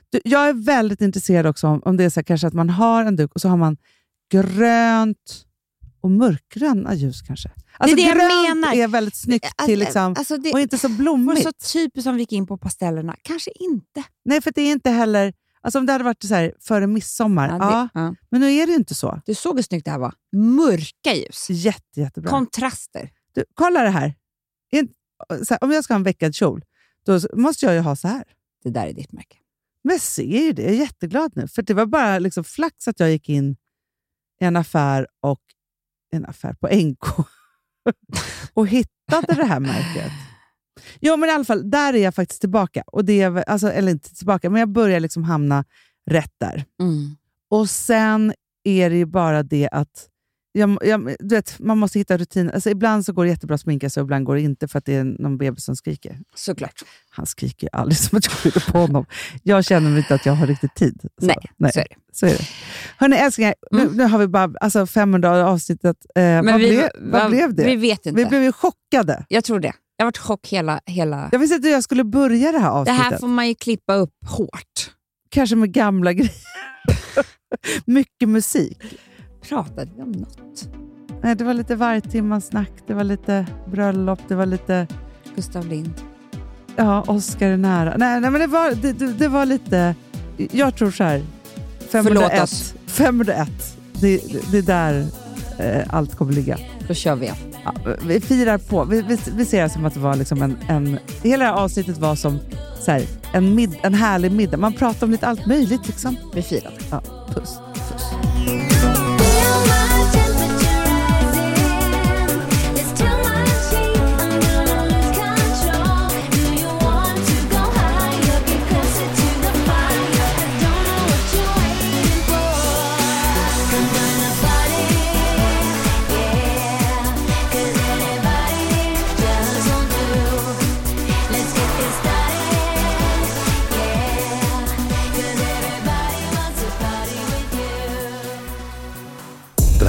Speaker 7: Du, jag är väldigt intresserad också om, om det är så här, kanske att man har en duk och så har man grönt och mörkgröna ljus kanske. Alltså,
Speaker 6: det jag
Speaker 7: grönt
Speaker 6: menar.
Speaker 7: är väldigt snyggt till liksom,
Speaker 6: Alltså det
Speaker 7: och inte så
Speaker 6: var
Speaker 7: blommigt.
Speaker 6: så typiskt som vi gick in på pastellerna. Kanske inte.
Speaker 7: Nej, för det är inte heller... Alltså om det hade varit så här före midsommar, ja,
Speaker 6: Ja, det- ja.
Speaker 7: men nu är det ju inte så.
Speaker 6: Du såg hur snyggt det här var. Mörka ljus.
Speaker 7: Jätte, jättebra.
Speaker 6: Kontraster.
Speaker 7: Du, kolla det här. In, så här. Om jag ska ha en veckad kjol, då s- måste jag ju ha så här.
Speaker 6: Det där är ditt märke.
Speaker 7: Men jag ser ju det. Jag är jätteglad nu. För det var bara liksom flax att jag gick in i en affär och en affär på NK och hittade det här märket. Jo, men i alla fall, där är jag faktiskt tillbaka. Och det är, väl- alltså, eller inte tillbaka, men jag börjar liksom hamna rätt där.
Speaker 6: Mm.
Speaker 7: Och sen är det ju bara det att jag, jag, du vet, man måste hitta rutin. Alltså, ibland så går det jättebra att sminka sig och ibland går det inte för att det är någon bebis som skriker.
Speaker 6: Såklart.
Speaker 7: Han skriker ju aldrig som att jag skjuter på honom. Jag känner inte att jag har riktigt tid. Så,
Speaker 6: Nej, så är det. Mm.
Speaker 7: Så är det. Hörni älsklingar, nu, nu har vi bara alltså 500 avsnittet. Eh, vad,
Speaker 6: vi-
Speaker 7: blev, vad,
Speaker 6: vad-
Speaker 7: blev det?
Speaker 6: Vi vet inte.
Speaker 7: Vi blev ju chockade.
Speaker 6: Jag tror det. Jag har varit chock hela... hela...
Speaker 7: Jag visste inte hur jag skulle börja det här
Speaker 6: Det
Speaker 7: avsnittet.
Speaker 6: här får man ju klippa upp hårt.
Speaker 7: Kanske med gamla grejer. Mycket musik.
Speaker 6: Pratade vi om något?
Speaker 7: Nej, det var lite vargtimmarsnack, det var lite bröllop, det var lite
Speaker 6: Gustav Lind.
Speaker 7: ja, Oscar är nära. Nej, nej men det var, det, det, det var lite... Jag tror så här. 501.
Speaker 6: Förlåt oss.
Speaker 7: 501. Det, det är där eh, allt kommer ligga.
Speaker 6: Då kör vi.
Speaker 7: Ja, vi firar på. Vi, vi, vi ser det som att det var liksom en, en... Hela det här avsnittet var som så här, en, mid, en härlig middag. Man pratar om lite allt möjligt. Liksom.
Speaker 6: Vi firar.
Speaker 7: Ja, puss.
Speaker 2: Den